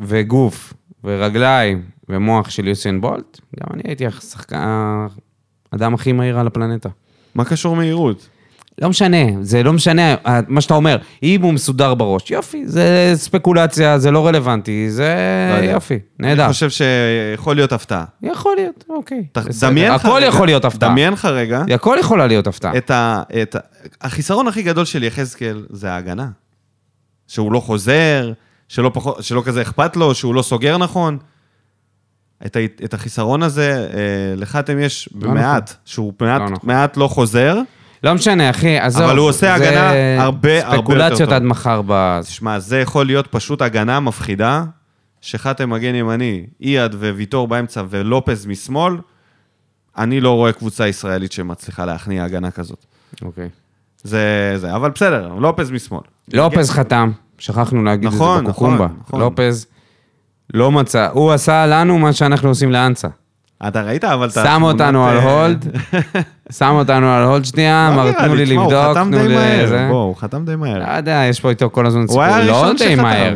Speaker 2: וגוף ורגליים ומוח של יוסיין בולט, גם אני הייתי השחקן, האדם הכי מהיר על הפלנטה.
Speaker 1: מה קשור מהירות?
Speaker 2: לא משנה, זה לא משנה אה, מה שאתה אומר. אם הוא מסודר בראש, יופי, זה ספקולציה, זה לא רלוונטי, זה
Speaker 1: לא יודע.
Speaker 2: יופי,
Speaker 1: אני
Speaker 2: נהדר.
Speaker 1: חושב שיכול להיות הפתעה.
Speaker 2: יכול להיות, אוקיי.
Speaker 1: ת-
Speaker 2: בסדר.
Speaker 1: דמיין לך
Speaker 2: הכל
Speaker 1: רגע-
Speaker 2: יכול להיות הפתעה.
Speaker 1: דמיין לך רגע
Speaker 2: הכל יכולה להיות הפתעה.
Speaker 1: את ה... את ה- החיסרון הכי גדול של יחזקאל זה ההגנה. שהוא לא חוזר, שלא, פחות, שלא כזה אכפת לו, שהוא לא סוגר נכון. את, ה, את החיסרון הזה, אה, לחתם יש במעט, שהוא מעט
Speaker 2: לא
Speaker 1: לא,
Speaker 2: נכון.
Speaker 1: מעט לא חוזר.
Speaker 2: לא משנה, אחי, עזוב.
Speaker 1: אבל הוא עושה
Speaker 2: זה
Speaker 1: הגנה הרבה, הרבה יותר
Speaker 2: ספקולציות
Speaker 1: טוב.
Speaker 2: עד מחר בזה.
Speaker 1: תשמע, זה יכול להיות פשוט הגנה מפחידה, שחתם מגן ימני, אייד וויטור באמצע ולופז משמאל. אני לא רואה קבוצה ישראלית שמצליחה להכניע הגנה כזאת.
Speaker 2: אוקיי.
Speaker 1: זה, זה, אבל בסדר, לופז משמאל.
Speaker 2: לופז חתם, שכחנו להגיד את
Speaker 1: נכון,
Speaker 2: זה
Speaker 1: נכון,
Speaker 2: בקוקומבה.
Speaker 1: נכון.
Speaker 2: לופז לא מצא, הוא עשה לנו מה שאנחנו עושים לאנסה.
Speaker 1: אתה ראית אבל את
Speaker 2: שם אותנו על
Speaker 1: התמונות, אה,
Speaker 2: הולד, שם אותנו על הולד שנייה,
Speaker 1: לא
Speaker 2: אמר
Speaker 1: נראה
Speaker 2: תנו לי
Speaker 1: תשמע,
Speaker 2: לבדוק,
Speaker 1: הוא חתם
Speaker 2: תנו
Speaker 1: די
Speaker 2: לי זה.
Speaker 1: מהר, בוא, הוא חתם די מהר.
Speaker 2: לא יודע, יש פה איתו כל הזמן סיפור.
Speaker 1: היה
Speaker 2: לא
Speaker 1: הראשון
Speaker 2: די
Speaker 1: שחתם.
Speaker 2: מהר.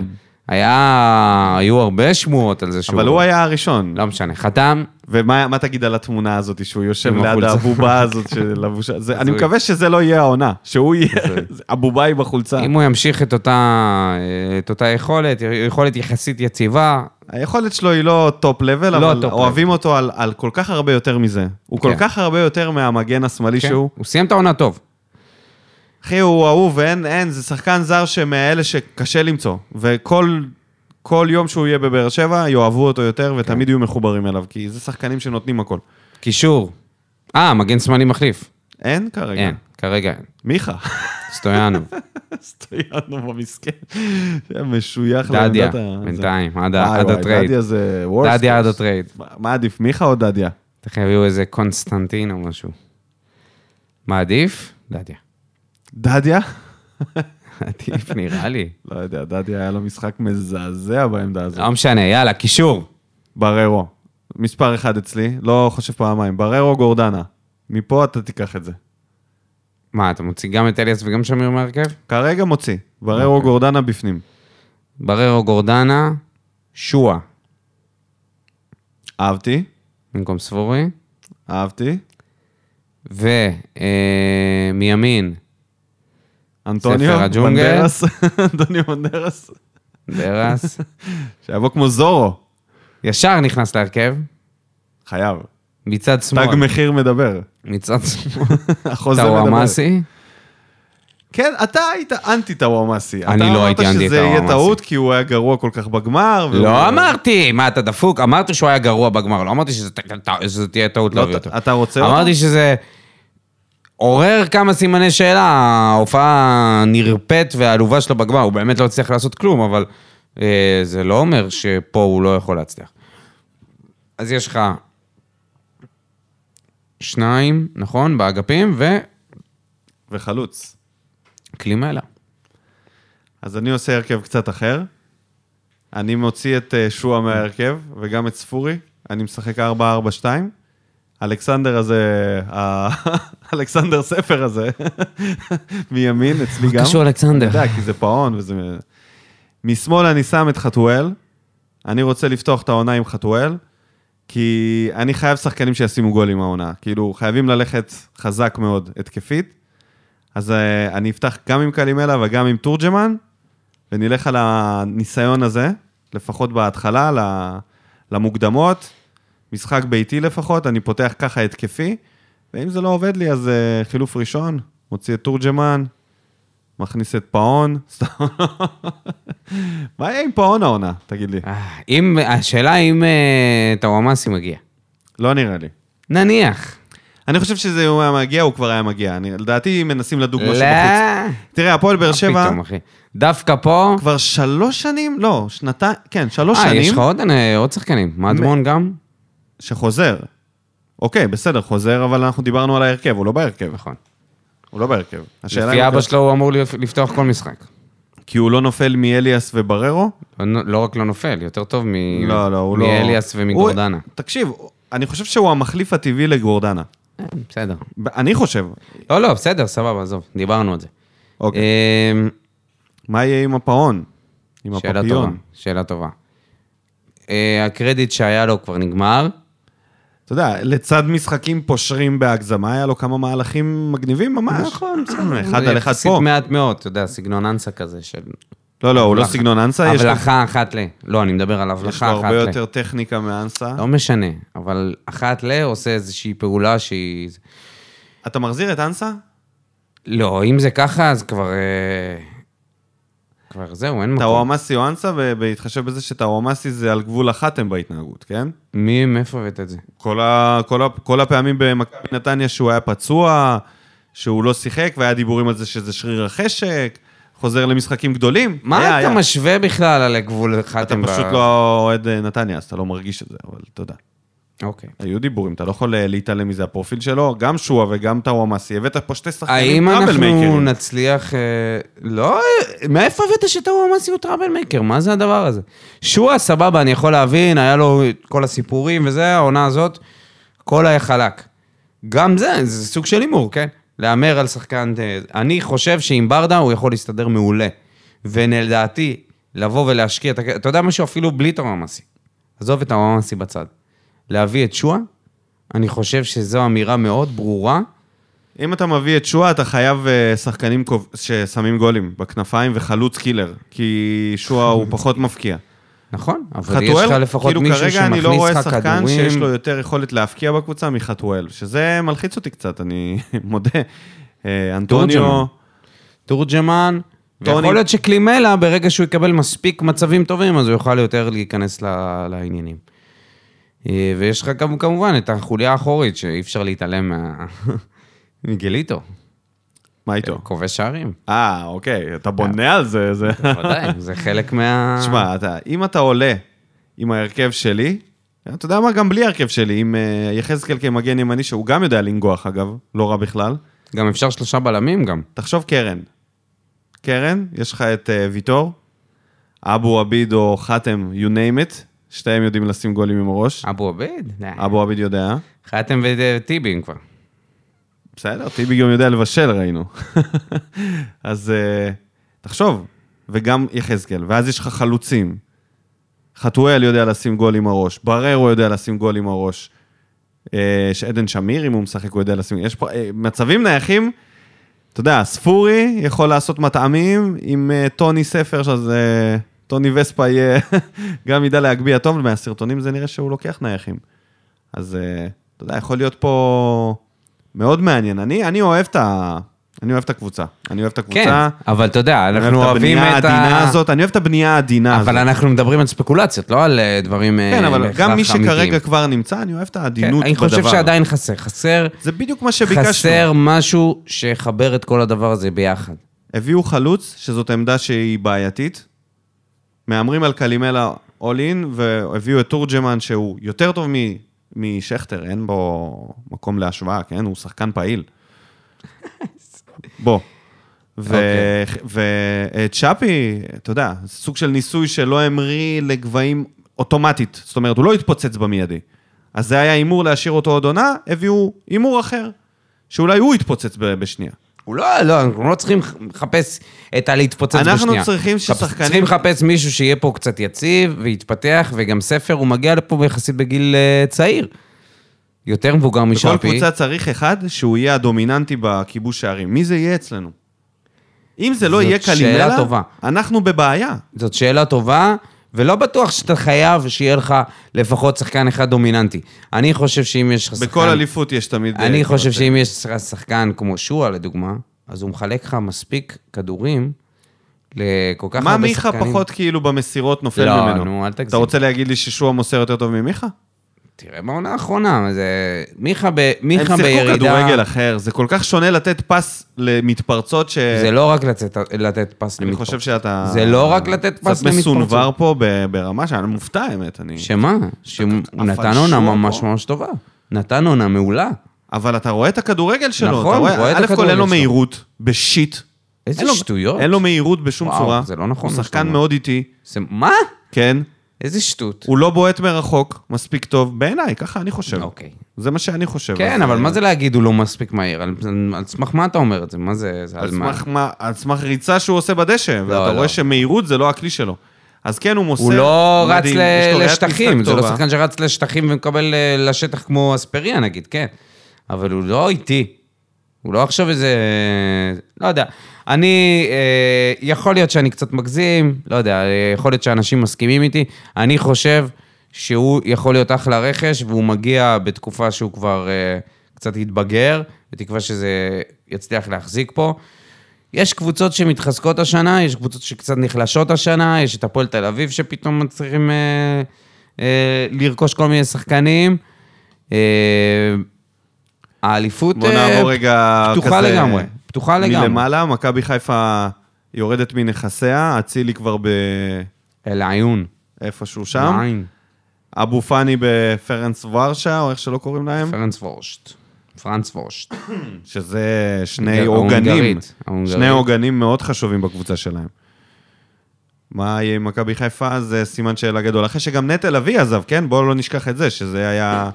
Speaker 2: היה, היו הרבה שמועות על זה שהוא...
Speaker 1: אבל הוא היה הראשון.
Speaker 2: לא משנה, חתם,
Speaker 1: ומה מה תגיד על התמונה הזאת שהוא יושב
Speaker 2: עם
Speaker 1: ליד
Speaker 2: החולצה.
Speaker 1: הבובה הזאת של הבושה? זה- אני
Speaker 2: הזוי.
Speaker 1: מקווה שזה לא יהיה העונה, שהוא יהיה הבובה עם החולצה.
Speaker 2: אם הוא ימשיך את אותה, את אותה יכולת, יכולת יחסית יציבה,
Speaker 1: כן. היכולת שלו היא לא טופ לבל,
Speaker 2: לא
Speaker 1: אבל
Speaker 2: טופ
Speaker 1: אוהבים אותו על- על כל כך הרבה יותר מזה. הוא כל
Speaker 2: כן.
Speaker 1: כך הרבה יותר מהמגן השמאלי
Speaker 2: כן,
Speaker 1: שהוא.
Speaker 2: הוא סיים את העונה טוב.
Speaker 1: אחי, הוא אהוב, אין, אין, זה שחקן זר שמאלה שקשה למצוא. וכל כל יום שהוא יהיה בבאר שבע, יאהבו אותו יותר
Speaker 2: כן.
Speaker 1: ותמיד יהיו מחוברים אליו, כי זה שחקנים שנותנים הכל.
Speaker 2: קישור. אה, מגן שמאלי מחליף.
Speaker 1: אין כרגע.
Speaker 2: אין, כרגע אין.
Speaker 1: מיכה.
Speaker 2: סטויאנוב,
Speaker 1: סטויאנו במסכן. היה משוייך
Speaker 2: דדיה,
Speaker 1: לעמדת ה-
Speaker 2: בינתיים,
Speaker 1: זה-
Speaker 2: עד
Speaker 1: וואי,
Speaker 2: ה- עד
Speaker 1: וואי,
Speaker 2: הטרייד.
Speaker 1: דדיה זה וורסט.
Speaker 2: דדיה עד הטרייד.
Speaker 1: מה עדיף, מיכה או דדיה?
Speaker 2: תכף יביאו איזה קונסטנטין או משהו. מה עדיף? דדיה.
Speaker 1: דדיה?
Speaker 2: עדיף נראה לי.
Speaker 1: לא יודע, דדיה היה לו משחק מזעזע בעמדה הזאת.
Speaker 2: לא משנה, יאללה, קישור.
Speaker 1: בררו, מספר אחד אצלי, לא חושב פעמיים. בררו גורדנה, מפה אתה תיקח את זה.
Speaker 2: מה, אתה מוציא גם את אליאס וגם שמיר מהרכב?
Speaker 1: כרגע מוציא, בררו
Speaker 2: אוקיי.
Speaker 1: גורדנה בפנים.
Speaker 2: בררו גורדנה, שועה.
Speaker 1: אהבתי,
Speaker 2: במקום ספורי.
Speaker 1: אהבתי.
Speaker 2: אה, ומימין,
Speaker 1: אנטוניו
Speaker 2: ספר הג'ונגל.
Speaker 1: מנדרס, אנטוניו מנדרס,
Speaker 2: דרס.
Speaker 1: שיבוא כמו זורו,
Speaker 2: ישר נכנס להרכב,
Speaker 1: חייב.
Speaker 2: מצד שמאל.
Speaker 1: תג מחיר מדבר.
Speaker 2: מצד שמאל.
Speaker 1: החוזה מדבר.
Speaker 2: טאוואמאסי.
Speaker 1: כן, אתה היית אנטי טאוואמאסי.
Speaker 2: אני לא הייתי
Speaker 1: אתה
Speaker 2: אנטי
Speaker 1: אמרת שזה יהיה
Speaker 2: טאוואמאסי.
Speaker 1: טעות, כי הוא היה גרוע כל כך בגמר. והוא-
Speaker 2: לא אמרתי, מה אתה דפוק? אמרתי שהוא היה גרוע בגמר, לא אמרתי שזה ת- ת- שזה תהיה טעות
Speaker 1: לא,
Speaker 2: להביא אותו.
Speaker 1: אתה- אתה רוצה אותו?
Speaker 2: אמרתי שזה עורר כמה סימני שאלה, ההופעה הנרפית והעלובה שלו בגמר, הוא באמת לא הצליח לעשות כלום, אבל אה, זה לא אומר שפה הוא לא יכול להצליח. אז יש לך שניים, נכון, באגפים,
Speaker 1: וחלוץ.
Speaker 2: וקלימלה.
Speaker 1: אז אני עושה הרכב קצת אחר. אני מוציא את אה, שועה מההרכב, וגם את ספורי. אני משחק 4-4-2. אלכסנדר הזה, ה- אלכסנדר ספר הזה, מימין, אצלי גם.
Speaker 2: קשור אלכסנדר?
Speaker 1: אני יודע, כי זה פאון וזה... משמאל אני שם את חתואל. אני רוצה לפתוח את העונה עם חתואל, כי אני חייב שחקנים שישימו גולים העונה. כאילו, חייבים ללכת חזק מאוד התקפית. אז אה, אני אפתח גם עם קלימלה וגם עם תורג'מן, ונלך על הניסיון הזה, לפחות בהתחלה, ל- למוקדמות, משחק ביתי לפחות, אני פותח ככה התקפי, ואם זה לא עובד לי, אז אה, חילוף ראשון, מוציא את תורג'מן, מכניס את פאון, סתם. מה יהיה עם פאון העונה, תגיד לי?
Speaker 2: אה, אם, השאלה אם אה, טאוואמאסי מגיע.
Speaker 1: לא נראה לי.
Speaker 2: נניח.
Speaker 1: אני חושב שזה הוא היה מגיע, הוא כבר היה מגיע. אני- לדעתי מנסים לדוג משהו
Speaker 2: לא,
Speaker 1: בחוץ. תראה, הפועל באר שבע
Speaker 2: פתאום, אחי. דווקא פה...
Speaker 1: כבר שלוש שנים, לא, שנתיים, כן, שלוש
Speaker 2: אה, יש
Speaker 1: שנים,
Speaker 2: לך עוד אה, עוד שחקנים. מדמון גם?
Speaker 1: שחוזר. אוקיי, בסדר, חוזר, אבל אנחנו דיברנו על ההרכב, הוא לא בהרכב.
Speaker 2: נכון.
Speaker 1: הוא לא בהרכב. השאלה אם
Speaker 2: לפי
Speaker 1: הוא
Speaker 2: אבא
Speaker 1: כבר-
Speaker 2: שלו הוא אמור לפ- לפתוח כל משחק.
Speaker 1: כי הוא לא נופל מאליאס ובררו?
Speaker 2: לא לא רק לא נופל, יותר טוב מ-
Speaker 1: לא, לא, הוא לא...
Speaker 2: מאליאס ומגורדנה.
Speaker 1: הוא- תקשיב, אני חושב שהוא המחליף הטבעי לגורדנה.
Speaker 2: בסדר.
Speaker 1: ב- אני חושב.
Speaker 2: לא, לא, בסדר, סבבה, עזוב, דיברנו על זה.
Speaker 1: אוקיי.
Speaker 2: אמ,
Speaker 1: מה יהיה עם הפעון? עם
Speaker 2: שאלה טובה,
Speaker 1: הפפיון?
Speaker 2: שאלה טובה. אה, הקרדיט שהיה לו כבר נגמר.
Speaker 1: אתה יודע, לצד משחקים פושרים בהגזמה, היה לו כמה מהלכים מגניבים ממש.
Speaker 2: נכון,
Speaker 1: אה, אחד
Speaker 2: זה
Speaker 1: על אחד
Speaker 2: יחסית
Speaker 1: פה.
Speaker 2: מעט מאוד, אתה יודע, סגנון אנסה כזה של...
Speaker 1: לא, לא, הוא לא
Speaker 2: הבלחה.
Speaker 1: סגנון אנסה, יש לו-
Speaker 2: הבלחה אחת ל... לא, אני מדבר על
Speaker 1: יש לו
Speaker 2: הבלחה אחת
Speaker 1: הרבה
Speaker 2: ל...
Speaker 1: יותר טכניקה מאנסה.
Speaker 2: לא משנה, אבל אחת ל עושה איזושהי פעולה שהיא...
Speaker 1: אתה מחזיר את אנסה?
Speaker 2: לא, אם זה ככה, אז כבר... אה, כבר זהו, אין מקום.
Speaker 1: טאוואמאסי או אנסה, ו- בהתחשב בזה שטאוואמאסי זה על גבול החתם בהתנהגות, כן?
Speaker 2: מי, מאיפה הבאת את זה?
Speaker 1: כל, ה, כל, ה, כל הפעמים במכבי נתניה שהוא היה פצוע, שהוא לא שיחק, והיה דיבורים על זה שזה שריר החשק, חוזר למשחקים גדולים. היה,
Speaker 2: מה אתה
Speaker 1: היה.
Speaker 2: משווה בכלל על הגבול
Speaker 1: אתה
Speaker 2: חתם? ב-
Speaker 1: פשוט לא אוהד אה, נתניה, אז אתה לא מרגיש את זה, אבל אתה יודע.
Speaker 2: אוקיי.
Speaker 1: היו דיבורים, אתה לא יכול אה, להתעלם מזה, הפרופיל שלו, גם שואה וגם טאוואמאסי, הבאת פה שתי שחקנים
Speaker 2: האם אנחנו
Speaker 1: טראבלמייקרים.
Speaker 2: נצליח... אה, לא, אה, מאיפה הבאת שטאו אמסי הוא טראבל מייקר? מה זה הדבר הזה? שועה, סבבה, אני יכול להבין, היה לו את כל הסיפורים וזה, העונה הזאת, הכל היה חלק. גם זה, זה סוג של הימור, כן? להמר על שחקן... אה, אני חושב שעם ברדה הוא יכול להסתדר מעולה. ולדעתי, לבוא ולהשקיע את הכ... אתה יודע משהו? אפילו בלי טאו אמסי. עזוב את טאו אמסי בצד. להביא את שועה, אני חושב שזו אמירה מאוד ברורה.
Speaker 1: אם אתה מביא את שואה, אתה חייב אה, שחקנים קוב- ששמים גולים בכנפיים וחלוץ קילר, כי שואה הוא פחות מפקיע.
Speaker 2: נכון, אבל יש לך
Speaker 1: חתואל,
Speaker 2: לפחות
Speaker 1: כאילו
Speaker 2: מישהו
Speaker 1: כרגע אני לא
Speaker 2: שמכניס
Speaker 1: רואה
Speaker 2: לך
Speaker 1: שחקן שיש לו
Speaker 2: כדורים.
Speaker 1: יותר יכולת להפקיע בקבוצה מחתואל, שזה מלחיץ אותי קצת, אני מודה. אה, אנטוניו,
Speaker 2: תורג'מן. תורג'מן,
Speaker 1: טוני.
Speaker 2: ויכול להיות שקלימלה, ברגע שהוא יקבל מספיק מצבים טובים, אז הוא יוכל יותר להיכנס ל- לעניינים. אה, ויש לך גם כמובן את החוליה האחורית, שאי אפשר להתעלם מה... מגליטו,
Speaker 1: מה איתו?
Speaker 2: כובש שערים.
Speaker 1: אה, אוקיי, אתה בונה על זה, זה...
Speaker 2: בוודאי, זה חלק מה...
Speaker 1: תשמע, אתה- אם אתה עולה עם ההרכב שלי, אתה יודע מה, גם בלי ההרכב שלי, עם אה, יחזקאל כמגן ימני, שהוא גם יודע לנגוח אגב, לא רע בכלל,
Speaker 2: גם אפשר שלושה בלמים גם.
Speaker 1: תחשוב קרן. קרן, יש לך את אה, ויטור, אבו עביד או חתם, you name it, שתיהם יודעים לשים גולים עם הראש.
Speaker 2: אבו עביד? לא.
Speaker 1: אבו עביד יודע.
Speaker 2: חתם וטיבים כבר.
Speaker 1: בסדר, טיבי גם יודע לבשל, ראינו. אז אה, תחשוב, וגם יחזקאל, ואז יש לך חלוצים. חתואל יודע לשים גול עם הראש, בררו יודע לשים גול עם הראש. אה, יש עדן שמיר, אם הוא משחק, הוא יודע לשים... יש פה אה, מצבים נייחים, אתה יודע, ספורי יכול לעשות מטעמים עם אה, טוני ספר, אז אה, טוני וספה יהיה... גם ידע להגביה טוב, מהסרטונים זה נראה שהוא לוקח נייחים. אז אה, אתה יודע, יכול להיות פה מאוד מעניין. אני, אני אוהב את ה... אני אוהב את הקבוצה. אני אוהב את
Speaker 2: כן,
Speaker 1: הקבוצה.
Speaker 2: אבל אתה יודע,
Speaker 1: אני
Speaker 2: כן, אנחנו
Speaker 1: אוהב את
Speaker 2: אוהבים
Speaker 1: הבנייה
Speaker 2: את ה...
Speaker 1: העדינה הזאת, אני אוהב את הבנייה העדינה הזאת.
Speaker 2: אבל אנחנו מדברים על ספקולציות, לא על אה, דברים
Speaker 1: כן,
Speaker 2: אה,
Speaker 1: אבל
Speaker 2: בהכרח
Speaker 1: גם מי
Speaker 2: אמיתיים.
Speaker 1: שכרגע כבר נמצא, אני אוהב את
Speaker 2: כן,
Speaker 1: העדינות
Speaker 2: אני
Speaker 1: בדבר.
Speaker 2: חושב שעדיין חסר. חסר,
Speaker 1: זה בדיוק מה שביקשנו.
Speaker 2: חסר משהו שיחבר את כל הדבר הזה ביחד.
Speaker 1: הביאו חלוץ, שזאת עמדה שהיא בעייתית. מהמרים על קלימלה אול אין, והביאו את תורג'מן, שהוא יותר טוב מ- משכטר, אין בו מקום להשוואה, כן? הוא שחקן פעיל. בוא. וצ'אפי, אתה יודע, זה סוג של ניסוי שלא המריא לגבהים אוטומטית. זאת אומרת, הוא לא התפוצץ במיידי. אז זה היה הימור להשאיר אותו עוד עונה, הביאו הימור אחר, שאולי הוא יתפוצץ ב- בשנייה.
Speaker 2: הוא לא, לא, אנחנו לא צריכים לחפש את הלהתפוצץ בשנייה.
Speaker 1: אנחנו צריכים ששחקנים-
Speaker 2: צריכים לחפש מישהו שיהיה פה קצת יציב ויתפתח, וגם ספר, הוא מגיע לפה יחסית בגיל אה, צעיר. יותר מבוגר
Speaker 1: בכל
Speaker 2: משאפי.
Speaker 1: קבוצה צריך אחד שהוא יהיה הדומיננטי בכיבוש שערים. מי זה יהיה אצלנו? אם זה לא
Speaker 2: זאת
Speaker 1: יהיה
Speaker 2: שאלה
Speaker 1: קלימלה,
Speaker 2: טובה.
Speaker 1: אנחנו בבעיה.
Speaker 2: זאת שאלה טובה, ולא בטוח שאתה חייב שיהיה לך לפחות שחקן אחד דומיננטי. אני חושב שאם יש לך שחקן...
Speaker 1: בכל אליפות יש תמיד...
Speaker 2: אני
Speaker 1: אה,
Speaker 2: חושב
Speaker 1: כזה.
Speaker 2: שאם יש לך שחקן כמו שועה, לדוגמה, אז הוא מחלק לך מספיק כדורים לכל כך
Speaker 1: מה
Speaker 2: הרבה
Speaker 1: מיכה
Speaker 2: שחקנים.
Speaker 1: פחות כאילו במסירות נופל
Speaker 2: לא,
Speaker 1: ממנו?
Speaker 2: נו, אל תגזים.
Speaker 1: אתה רוצה להגיד לי ששועה מוסר יותר טוב ממיכה?
Speaker 2: תראה בעונה האחרונה, מה זה... מיכה, ב... מיכה
Speaker 1: הם שיחקו
Speaker 2: בירידה...
Speaker 1: כדורגל אחר, זה כל כך שונה לתת פס למתפרצות ש...
Speaker 2: זה לא רק לצאת, לתת פס
Speaker 1: אני
Speaker 2: למתפרצות.
Speaker 1: חושב שאתה...
Speaker 2: זה לא רק לתת פס
Speaker 1: קצת
Speaker 2: למתפרצות.
Speaker 1: מסונבר פה ב- ברמה שאני מופתע, האמת. אני...
Speaker 2: שמה? שהוא
Speaker 1: אבל
Speaker 2: נתן עונה
Speaker 1: שועה
Speaker 2: ממש
Speaker 1: פה.
Speaker 2: ממש טובה. נתן עונה מעולה.
Speaker 1: אבל אתה רואה את הכדורגל שלו.
Speaker 2: נכון,
Speaker 1: אתה
Speaker 2: רואה את
Speaker 1: א' כל
Speaker 2: הכדורגל
Speaker 1: אין לו
Speaker 2: שלו.
Speaker 1: מהירות, בשיט.
Speaker 2: איזה
Speaker 1: אין לו-
Speaker 2: שטויות.
Speaker 1: אין לו מהירות בשום
Speaker 2: וואו,
Speaker 1: צורה.
Speaker 2: זה לא נכון מה
Speaker 1: הוא
Speaker 2: שאתה
Speaker 1: שחקן
Speaker 2: אומר.
Speaker 1: מאוד איטי,
Speaker 2: זה... מה?
Speaker 1: כן.
Speaker 2: איזה שטות.
Speaker 1: הוא לא בועט מרחוק מספיק טוב, בעיניי, ככה אני חושב.
Speaker 2: אוקיי.
Speaker 1: זה מה שאני חושב.
Speaker 2: כן,
Speaker 1: אז,
Speaker 2: אבל
Speaker 1: אה,
Speaker 2: מה זה להגיד הוא לא מספיק מהיר? על על סמך מה אתה אומר את זה? מה זה... זה
Speaker 1: על
Speaker 2: מה?
Speaker 1: סמך מה- על סמך ריצה שהוא עושה בדשא, ואתה
Speaker 2: לא.
Speaker 1: רואה שמהירות זה לא הכלי שלו. אז כן, הוא מוסר.
Speaker 2: הוא לא רץ
Speaker 1: מדהים,
Speaker 2: ל-
Speaker 1: יש לו ראיית
Speaker 2: לשטחים,
Speaker 1: משחק
Speaker 2: זה לא
Speaker 1: טובה.
Speaker 2: שחקן שרץ לשטחים ומקבל אה, לשטח כמו אספריה נגיד, כן. אבל הוא לא איטי. הוא לא עכשיו איזה... לא יודע. אני, אה, יכול להיות שאני קצת מגזים, לא יודע, אה, יכול להיות שאנשים מסכימים איתי. אני חושב שהוא יכול להיות אחלה רכש, והוא מגיע בתקופה שהוא כבר אה, קצת התבגר, בתקווה שזה יצליח להחזיק פה. יש קבוצות שמתחזקות השנה, יש קבוצות שקצת נחלשות השנה, יש את הפועל תל אביב שפתאום מצליחים אה, אה, לרכוש כל מיני שחקנים. אה, האליפות
Speaker 1: בוא
Speaker 2: אה,
Speaker 1: נעבור רגע כזה...
Speaker 2: פתוחה לגמרי, פתוחה לגמרי.
Speaker 1: מלמעלה, מכבי חיפה יורדת מנכסיה, אצילי כבר ב...
Speaker 2: אל עיון.
Speaker 1: איפשהו שם.
Speaker 2: עין.
Speaker 1: אבו פאני בפרנס ורשה, או איך שלא קוראים להם,
Speaker 2: פרנס וורשט. פרנס וורשט.
Speaker 1: שזה שני
Speaker 2: ההונגרית,
Speaker 1: עוגנים,
Speaker 2: ההונגרית.
Speaker 1: שני עוגנים מאוד חשובים בקבוצה שלהם. מה יהיה עם מכבי חיפה? זה סימן שאלה גדול. אחרי שגם נטע לביא עזב, כן? בואו לא נשכח את זה, שזה היה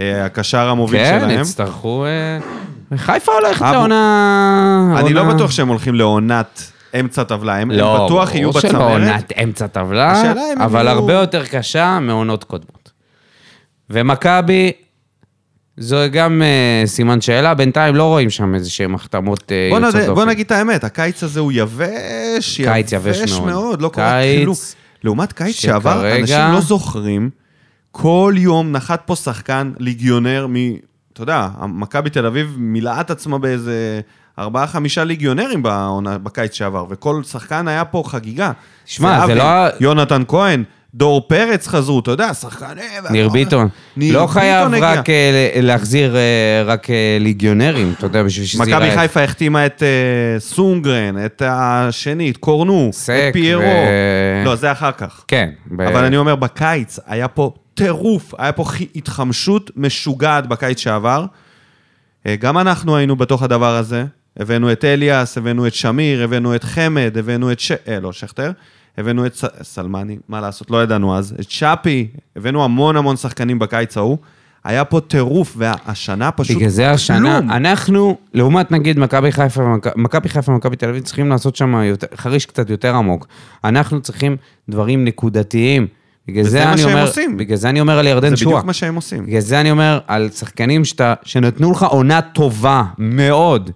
Speaker 1: אה, הקשר המוביל
Speaker 2: כן,
Speaker 1: שלהם.
Speaker 2: יצטרכו... אה, חיפה הולכת
Speaker 1: אבו-
Speaker 2: לעונה...
Speaker 1: אני לא
Speaker 2: עונה-
Speaker 1: בטוח שהם הולכים לעונת אמצע טבלה, הם הם
Speaker 2: לא,
Speaker 1: בטוח יהיו
Speaker 2: ברור שלא
Speaker 1: בצמרת.
Speaker 2: עונת אמצע טבלה,
Speaker 1: השאלה אם הם
Speaker 2: אבל
Speaker 1: יהיו-
Speaker 2: הרבה יותר קשה מעונות קודמות. ומכבי, זו גם אה, סימן שאלה, בינתיים לא רואים שם איזה שהן החתמות אה,
Speaker 1: בוא,
Speaker 2: יוצאות
Speaker 1: נד...
Speaker 2: דופן.
Speaker 1: בוא נגיד את האמת, הקיץ הזה הוא יבש,
Speaker 2: קיץ יבש מאוד.
Speaker 1: לא קורה
Speaker 2: קיץ
Speaker 1: כאילו... לעומת קיץ שעבר,
Speaker 2: שכרגע-
Speaker 1: אנשים לא זוכרים, כל יום נחת פה שחקן ליגיונר מ... אתה יודע, מכבי תל אביב מילאה את עצמה באיזה ארבעה-חמישה ליגיונרים בעונה, בקיץ שעבר, וכל שחקן היה פה חגיגה.
Speaker 2: שמע, זה
Speaker 1: זהבי,
Speaker 2: לא ה-
Speaker 1: יונתן כהן, דור פרץ חזרו, אתה יודע, שחקנים...
Speaker 2: ניר ביטון.
Speaker 1: אה, ניר
Speaker 2: לא חייב
Speaker 1: ביטון הגיע.
Speaker 2: רק אה, ל- להחזיר אה, רק אה, ליגיונרים, אתה יודע, בשביל שזה
Speaker 1: מכבי
Speaker 2: ייראה.
Speaker 1: חיפה החתימה את אה, סונגרן, את השני, את קורנו,
Speaker 2: סק
Speaker 1: את פיירו.
Speaker 2: ו-
Speaker 1: לא, זה אחר כך.
Speaker 2: כן. ב-
Speaker 1: אבל אני אומר, בקיץ היה פה טירוף, היה פה חי- התחמשות משוגעת בקיץ שעבר. אה, גם אנחנו היינו בתוך הדבר הזה. הבאנו את אליאס, הבאנו את שמיר, הבאנו את חמד, הבאנו את ש... אה, לא, שכטר. הבאנו את ס... סלמני, מה לעשות, לא ידענו אז. את שפי, הבאנו המון המון שחקנים בקיץ ההוא. היה פה טירוף, והשנה פשוט...
Speaker 2: בגלל זה השנה,
Speaker 1: כלום.
Speaker 2: אנחנו, לעומת נגיד מכבי חיפה, ומכ- מכבי חיפה ומכבי תל אביב, צריכים לעשות שם יותר- חריש קצת יותר עמוק. אנחנו צריכים דברים נקודתיים. בגלל
Speaker 1: וזה
Speaker 2: זה
Speaker 1: מה
Speaker 2: אני
Speaker 1: שהם
Speaker 2: אומר,
Speaker 1: עושים.
Speaker 2: בגלל זה אני אומר על ירדן
Speaker 1: זה
Speaker 2: שועה.
Speaker 1: בדיוק מה שהם עושים.
Speaker 2: בגלל זה אני אומר על שחקנים שאתה, שנתנו לך עונה טובה מאוד,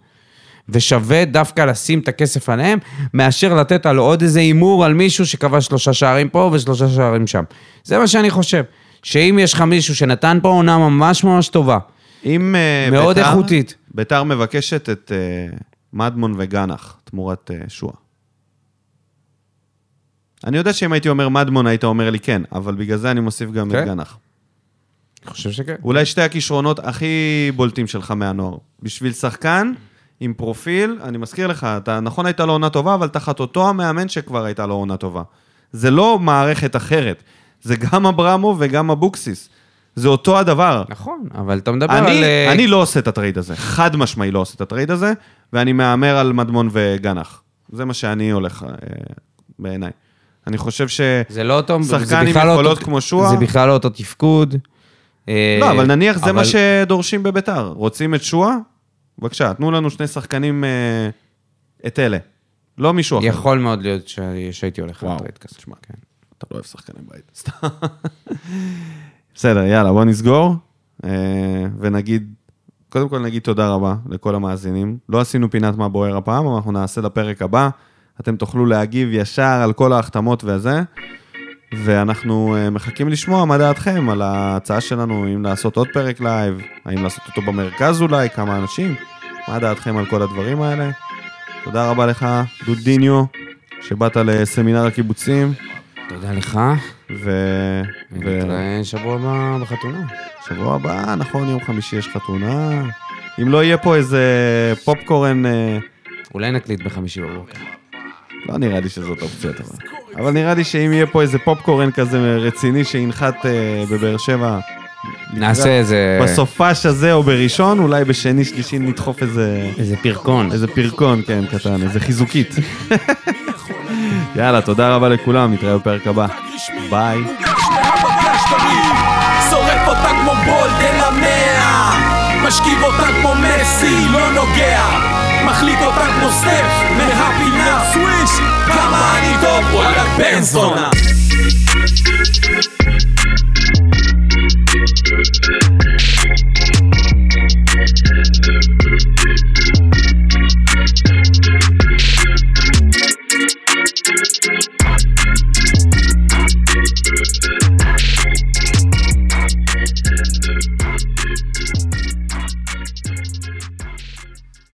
Speaker 2: ושווה דווקא לשים את הכסף עליהם, מאשר לתת על עוד איזה הימור על מישהו שכבש שלושה שערים פה ושלושה שערים שם. זה מה שאני חושב. שאם יש לך מישהו שנתן פה עונה ממש ממש טובה,
Speaker 1: אם אה,
Speaker 2: מאוד
Speaker 1: ביתר-
Speaker 2: איכותית.
Speaker 1: ביתר מבקשת את אה, מדמון וגנח תמורת אה, שועה. אני יודע שאם הייתי אומר מדמון, היית אומר לי כן, אבל בגלל זה אני מוסיף גם את
Speaker 2: כן?
Speaker 1: גנח.
Speaker 2: אני חושב שכן.
Speaker 1: אולי שתי הכישרונות הכי בולטים שלך מהנוער. בשביל שחקן עם פרופיל, אני מזכיר לך, אתה נכון הייתה לו עונה טובה, אבל תחת אותו המאמן שכבר הייתה לו עונה טובה. זה לא מערכת אחרת, זה גם אברמוב וגם אבוקסיס. זה אותו הדבר.
Speaker 2: נכון, אבל אתה מדבר על...
Speaker 1: אני,
Speaker 2: אה,
Speaker 1: אני לא עושה את הטרייד הזה, חד משמעי לא עושה את הטרייד הזה, ואני מהמר על מדמון וגנח. זה מה שאני הולך אה, בעיניי. אני חושב ש...
Speaker 2: זה לא אותו...
Speaker 1: שחקן
Speaker 2: זה
Speaker 1: עם
Speaker 2: בכלל לא
Speaker 1: יכולות
Speaker 2: אותו-
Speaker 1: כמו שועה.
Speaker 2: זה בכלל לא אותו תפקוד. אה,
Speaker 1: לא, אבל נניח זה מה
Speaker 2: אבל-
Speaker 1: שדורשים בביתר. רוצים את שועה? בבקשה, תנו לנו שני שחקנים אה, את אלה. לא מישהו אחר.
Speaker 2: יכול מאוד להיות ש- שהייתי הולך
Speaker 1: וואו,
Speaker 2: לטרייד כזה. כן.
Speaker 1: אתה לא אוהב שחקני בית. סתם. בסדר, יאללה, בוא נסגור, אה, ונגיד, קודם כל נגיד תודה רבה לכל המאזינים. לא עשינו פינת מה בוער הפעם, אבל אנחנו נעשה לפרק הבא. אתם תוכלו להגיב ישר על כל ההחתמות וזה, ואנחנו אה, מחכים לשמוע מה דעתכם על ההצעה שלנו, אם לעשות עוד פרק לייב, האם לעשות אותו במרכז אולי, כמה אנשים, מה דעתכם על כל הדברים האלה. תודה רבה לך, דודיניו, שבאת לסמינר הקיבוצים.
Speaker 2: תודה לך.
Speaker 1: ו... ו...
Speaker 2: נתראה שבוע הבא בחתונה.
Speaker 1: שבוע הבא, נכון, יום חמישי יש חתונה. אם לא יהיה פה איזה פופקורן, אה,
Speaker 2: אולי נקליט בחמישי בבוקר.
Speaker 1: לא נראה לי שזאת אופציה טובה. אבל נראה לי שאם יהיה פה איזה פופקורן כזה רציני שינחת אה, בבאר שבע...
Speaker 2: נעשה
Speaker 1: לקראת-
Speaker 2: איזה-
Speaker 1: בסופש הזה או בראשון, אולי בשני, שלישי נדחוף איזה...
Speaker 2: איזה פרקון.
Speaker 1: איזה פרקון, כן, קטן, איזה חיזוקית. יאללה, תודה רבה לכולם, נתראה בפרק הבא. ביי.
Speaker 3: שורף אותה כמו בולדן המאה משכיב אותה כמו מסי, לא נוגע מחליט אותה כמו סטף מהפינה סוויש כמה אני טוב, וואלה בן זונה